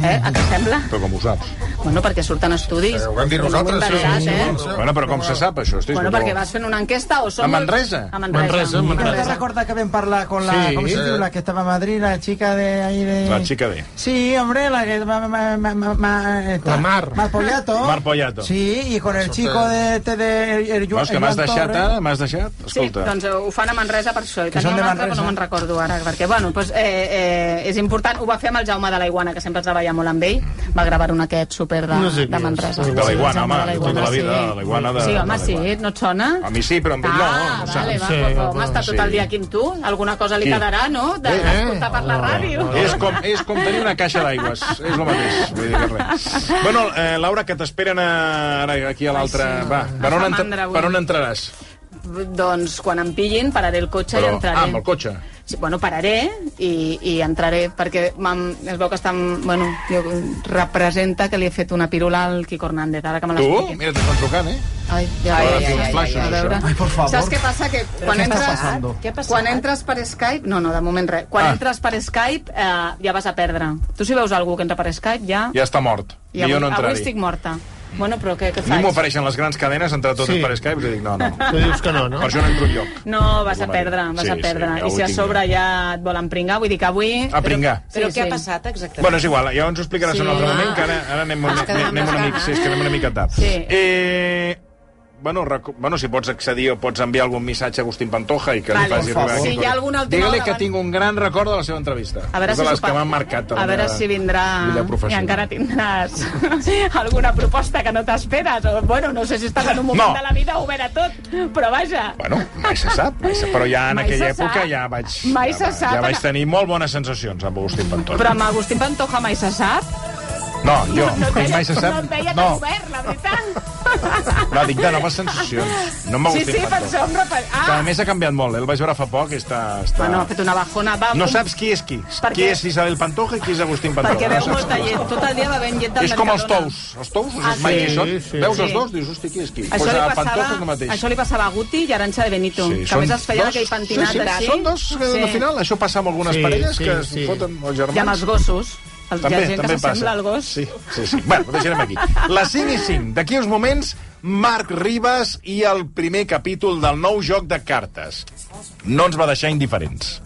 [SPEAKER 2] Eh? A què sembla?
[SPEAKER 1] Però com ho saps?
[SPEAKER 2] Bueno, perquè surten estudis.
[SPEAKER 3] Eh, ho vam dir nosaltres,
[SPEAKER 2] Ho hem inventat,
[SPEAKER 3] sí, sí,
[SPEAKER 2] eh?
[SPEAKER 3] sí.
[SPEAKER 1] Bueno, però com se sap, això? Estic
[SPEAKER 2] Bueno,
[SPEAKER 1] com-
[SPEAKER 2] perquè vas fent una enquesta o som...
[SPEAKER 1] A Manresa?
[SPEAKER 2] A Manresa.
[SPEAKER 4] Manresa, Manresa.
[SPEAKER 8] ¿No te recuerdas que ven parlar con la,
[SPEAKER 4] Sí.
[SPEAKER 8] ¿cómo se dice? La que estaba en Madrid, la chica de ahí de...
[SPEAKER 1] La chica de...
[SPEAKER 8] Sí, hombre, la que... Ma, ma, ma, ma- ma- esta-
[SPEAKER 4] La Mar.
[SPEAKER 8] Mar Pollato.
[SPEAKER 1] Mar Pollato.
[SPEAKER 8] Sí, y con el chico de... este de el, el,
[SPEAKER 1] Veus que
[SPEAKER 8] el
[SPEAKER 1] m'has
[SPEAKER 8] Joan
[SPEAKER 1] deixat,
[SPEAKER 8] Torres.
[SPEAKER 1] ara? M'has deixat?
[SPEAKER 2] Sí,
[SPEAKER 1] Escolta.
[SPEAKER 2] doncs eh, ho fan a Manresa per això. I
[SPEAKER 8] Que
[SPEAKER 2] tenia
[SPEAKER 8] són de
[SPEAKER 2] un altre, però
[SPEAKER 8] Manresa.
[SPEAKER 2] no me'n recordo ara, perquè, bueno, doncs, eh, eh, és important. Ho va fer amb el Jaume de la Iguana, que sempre treballa molt amb ell. Va gravar un aquest super de,
[SPEAKER 4] No sé qui
[SPEAKER 2] de
[SPEAKER 4] és.
[SPEAKER 2] Manresa.
[SPEAKER 1] De la iguana, home,
[SPEAKER 2] Jaume de
[SPEAKER 1] tota
[SPEAKER 2] la Iguana,
[SPEAKER 1] la vida,
[SPEAKER 2] sí.
[SPEAKER 1] de la iguana de...
[SPEAKER 2] Sí,
[SPEAKER 1] de la
[SPEAKER 2] home, sí,
[SPEAKER 1] iguana.
[SPEAKER 2] no et sona?
[SPEAKER 1] A mi sí, però amb ell no,
[SPEAKER 2] Ah,
[SPEAKER 1] no saps?
[SPEAKER 2] vale, va,
[SPEAKER 4] Sí,
[SPEAKER 2] sí,
[SPEAKER 4] home,
[SPEAKER 2] home, està tot el
[SPEAKER 1] sí.
[SPEAKER 2] dia aquí amb tu. Alguna cosa li
[SPEAKER 1] Qui?
[SPEAKER 2] quedarà, no?, de-
[SPEAKER 1] Eh,
[SPEAKER 2] d'escoltar per la ràdio.
[SPEAKER 1] És com, és com tenir una caixa d'aigües, és el mateix. Vull dir que res. Bueno, eh, Laura, que t'esperen a... ara aquí a l'altre... Va, per on,
[SPEAKER 2] Fa
[SPEAKER 1] entra...
[SPEAKER 2] mandra, avui.
[SPEAKER 1] per on entraràs?
[SPEAKER 2] Doncs quan em pillin, pararé el cotxe i entraré.
[SPEAKER 1] ah, amb el cotxe.
[SPEAKER 2] sí, bueno, pararé i, i entraré, perquè mam, es veu que està... amb- Bueno, jo, representa que li he fet una pirula al Quico Hernández, ara que me
[SPEAKER 1] Tu?
[SPEAKER 2] l'expliqui.
[SPEAKER 1] Mira, t'estan trucant, eh?
[SPEAKER 2] Ai, ja,
[SPEAKER 1] Ara
[SPEAKER 2] ja, ja,
[SPEAKER 1] té uns
[SPEAKER 2] ja, ja,
[SPEAKER 1] flashes,
[SPEAKER 2] ja, a veure.
[SPEAKER 1] això.
[SPEAKER 8] Ai, por favor.
[SPEAKER 2] Saps què passa? Que quan
[SPEAKER 8] què està
[SPEAKER 2] entres,
[SPEAKER 8] passando?
[SPEAKER 6] Què ha passat?
[SPEAKER 2] quan entres per Skype... No, no, de moment res. Quan
[SPEAKER 1] Ah.
[SPEAKER 2] entres per Skype eh, ja vas a perdre. Tu si veus algú que entra per Skype ja...
[SPEAKER 1] Ja està mort.
[SPEAKER 2] I
[SPEAKER 1] Millor
[SPEAKER 2] avui,
[SPEAKER 1] no
[SPEAKER 2] avui
[SPEAKER 1] entrar-hi.
[SPEAKER 2] estic morta. Bueno, però què, què
[SPEAKER 1] A mi m'ho
[SPEAKER 2] faig?
[SPEAKER 1] ofereixen les grans cadenes, entrar totes
[SPEAKER 4] Sí.
[SPEAKER 1] per Skype, i dic, no, no.
[SPEAKER 4] Tu dius que no, no?
[SPEAKER 1] Per això no entro enlloc.
[SPEAKER 2] No, vas a
[SPEAKER 1] Alguna
[SPEAKER 2] perdre, vas
[SPEAKER 1] Sí,
[SPEAKER 2] a
[SPEAKER 1] sí,
[SPEAKER 2] perdre.
[SPEAKER 1] ja ho
[SPEAKER 2] I si a
[SPEAKER 1] tinc
[SPEAKER 2] sobre
[SPEAKER 1] jo.
[SPEAKER 2] ja et volen pringar, vull dir que avui...
[SPEAKER 1] A pringar.
[SPEAKER 6] Però
[SPEAKER 2] Sí,
[SPEAKER 6] què
[SPEAKER 2] sí.
[SPEAKER 6] ha passat exactament?
[SPEAKER 1] Bueno, és igual, ja ens ho explicaràs
[SPEAKER 6] Sí,
[SPEAKER 1] en un altre
[SPEAKER 6] va.
[SPEAKER 1] moment, que ara, ara anem,
[SPEAKER 6] Ens
[SPEAKER 1] una,
[SPEAKER 6] quedem
[SPEAKER 1] anem
[SPEAKER 6] amb
[SPEAKER 1] una,
[SPEAKER 6] les
[SPEAKER 1] mica,
[SPEAKER 6] ganes.
[SPEAKER 1] sí, és que anem una mica tard.
[SPEAKER 2] Sí.
[SPEAKER 1] Eh, bueno, reco- bueno, si pots accedir o pots enviar algun missatge a Agustín Pantoja i que
[SPEAKER 2] Vale.
[SPEAKER 1] li faci
[SPEAKER 2] Por
[SPEAKER 1] arribar
[SPEAKER 2] favor.
[SPEAKER 1] aquí.
[SPEAKER 2] Si hi ha alguna última
[SPEAKER 1] Digue-li
[SPEAKER 2] hora
[SPEAKER 1] que
[SPEAKER 2] abans.
[SPEAKER 1] tinc un gran record de la seva entrevista.
[SPEAKER 2] A veure
[SPEAKER 1] és
[SPEAKER 2] si
[SPEAKER 1] de les
[SPEAKER 2] s'ho pa-
[SPEAKER 1] que m'han marcat.
[SPEAKER 2] A veure si vindrà... I encara tindràs alguna proposta que no t'esperes. O, bueno, no sé si estàs en un moment
[SPEAKER 1] No.
[SPEAKER 2] de la vida obert a tot, però vaja.
[SPEAKER 1] Bueno, mai se sap, mai se... però ja en
[SPEAKER 2] Mai
[SPEAKER 1] aquella
[SPEAKER 2] se sap.
[SPEAKER 1] època ja vaig,
[SPEAKER 2] Mai
[SPEAKER 1] ja,
[SPEAKER 2] se
[SPEAKER 1] va-
[SPEAKER 2] sap.
[SPEAKER 1] ja vaig tenir molt bones sensacions amb Agustín Pantoja.
[SPEAKER 2] Però amb Agustín Pantoja mai se sap.
[SPEAKER 1] No, jo,
[SPEAKER 2] no et veia,
[SPEAKER 1] mai se sap.
[SPEAKER 2] No et veia tan obert, la veritat.
[SPEAKER 1] no, dic de noves sensacions. No amb
[SPEAKER 2] sí,
[SPEAKER 1] Agustín
[SPEAKER 2] sí, per
[SPEAKER 1] Pantoja.
[SPEAKER 2] això em refer...
[SPEAKER 1] Que a
[SPEAKER 2] Ah!
[SPEAKER 1] més ha canviat molt, eh? el vaig veure fa poc i està... està...
[SPEAKER 2] Bueno, ha fet una bajona. Va,
[SPEAKER 1] No
[SPEAKER 2] un-
[SPEAKER 1] saps qui és qui.
[SPEAKER 2] Per
[SPEAKER 1] Qui
[SPEAKER 2] què?
[SPEAKER 1] és Isabel Pantoja i qui és Agustín Pantoja.
[SPEAKER 2] Perquè veu
[SPEAKER 1] no saps
[SPEAKER 2] molta
[SPEAKER 1] qui és.
[SPEAKER 2] llet. Tot el dia va ben llet del
[SPEAKER 1] És com els
[SPEAKER 2] Mercadona.
[SPEAKER 1] tous. Els tous,
[SPEAKER 2] Ah,
[SPEAKER 1] els mai
[SPEAKER 2] sí,
[SPEAKER 1] qui són.
[SPEAKER 4] sí.
[SPEAKER 1] Veus els
[SPEAKER 2] Sí.
[SPEAKER 1] dos, dius, hosti, qui és qui?
[SPEAKER 2] Això,
[SPEAKER 1] Pues
[SPEAKER 2] li
[SPEAKER 1] a
[SPEAKER 2] passava,
[SPEAKER 1] Pantoja és el mateix.
[SPEAKER 2] això li passava a Guti i a Aranxa de Benito,
[SPEAKER 1] Sí,
[SPEAKER 2] sí, que a
[SPEAKER 1] són
[SPEAKER 2] més es feia
[SPEAKER 1] dos-
[SPEAKER 2] aquell
[SPEAKER 1] sí,
[SPEAKER 2] pentinat
[SPEAKER 1] sí,
[SPEAKER 2] així.
[SPEAKER 1] Són dos que sí. al final això passa amb algunes
[SPEAKER 4] Sí,
[SPEAKER 1] parelles
[SPEAKER 4] sí,
[SPEAKER 1] que
[SPEAKER 4] sí.
[SPEAKER 1] es foten els germans.
[SPEAKER 2] I amb els gossos. Els,
[SPEAKER 1] També,
[SPEAKER 2] hi ha gent
[SPEAKER 1] també
[SPEAKER 2] que s'assembla
[SPEAKER 1] passa.
[SPEAKER 2] al gos.
[SPEAKER 1] Sí, sí, sí. Bueno, ho deixarem aquí. Les 5 i 5. D'aquí uns moments, Marc Ribas i el primer capítol del nou joc de cartes. No ens va deixar indiferents.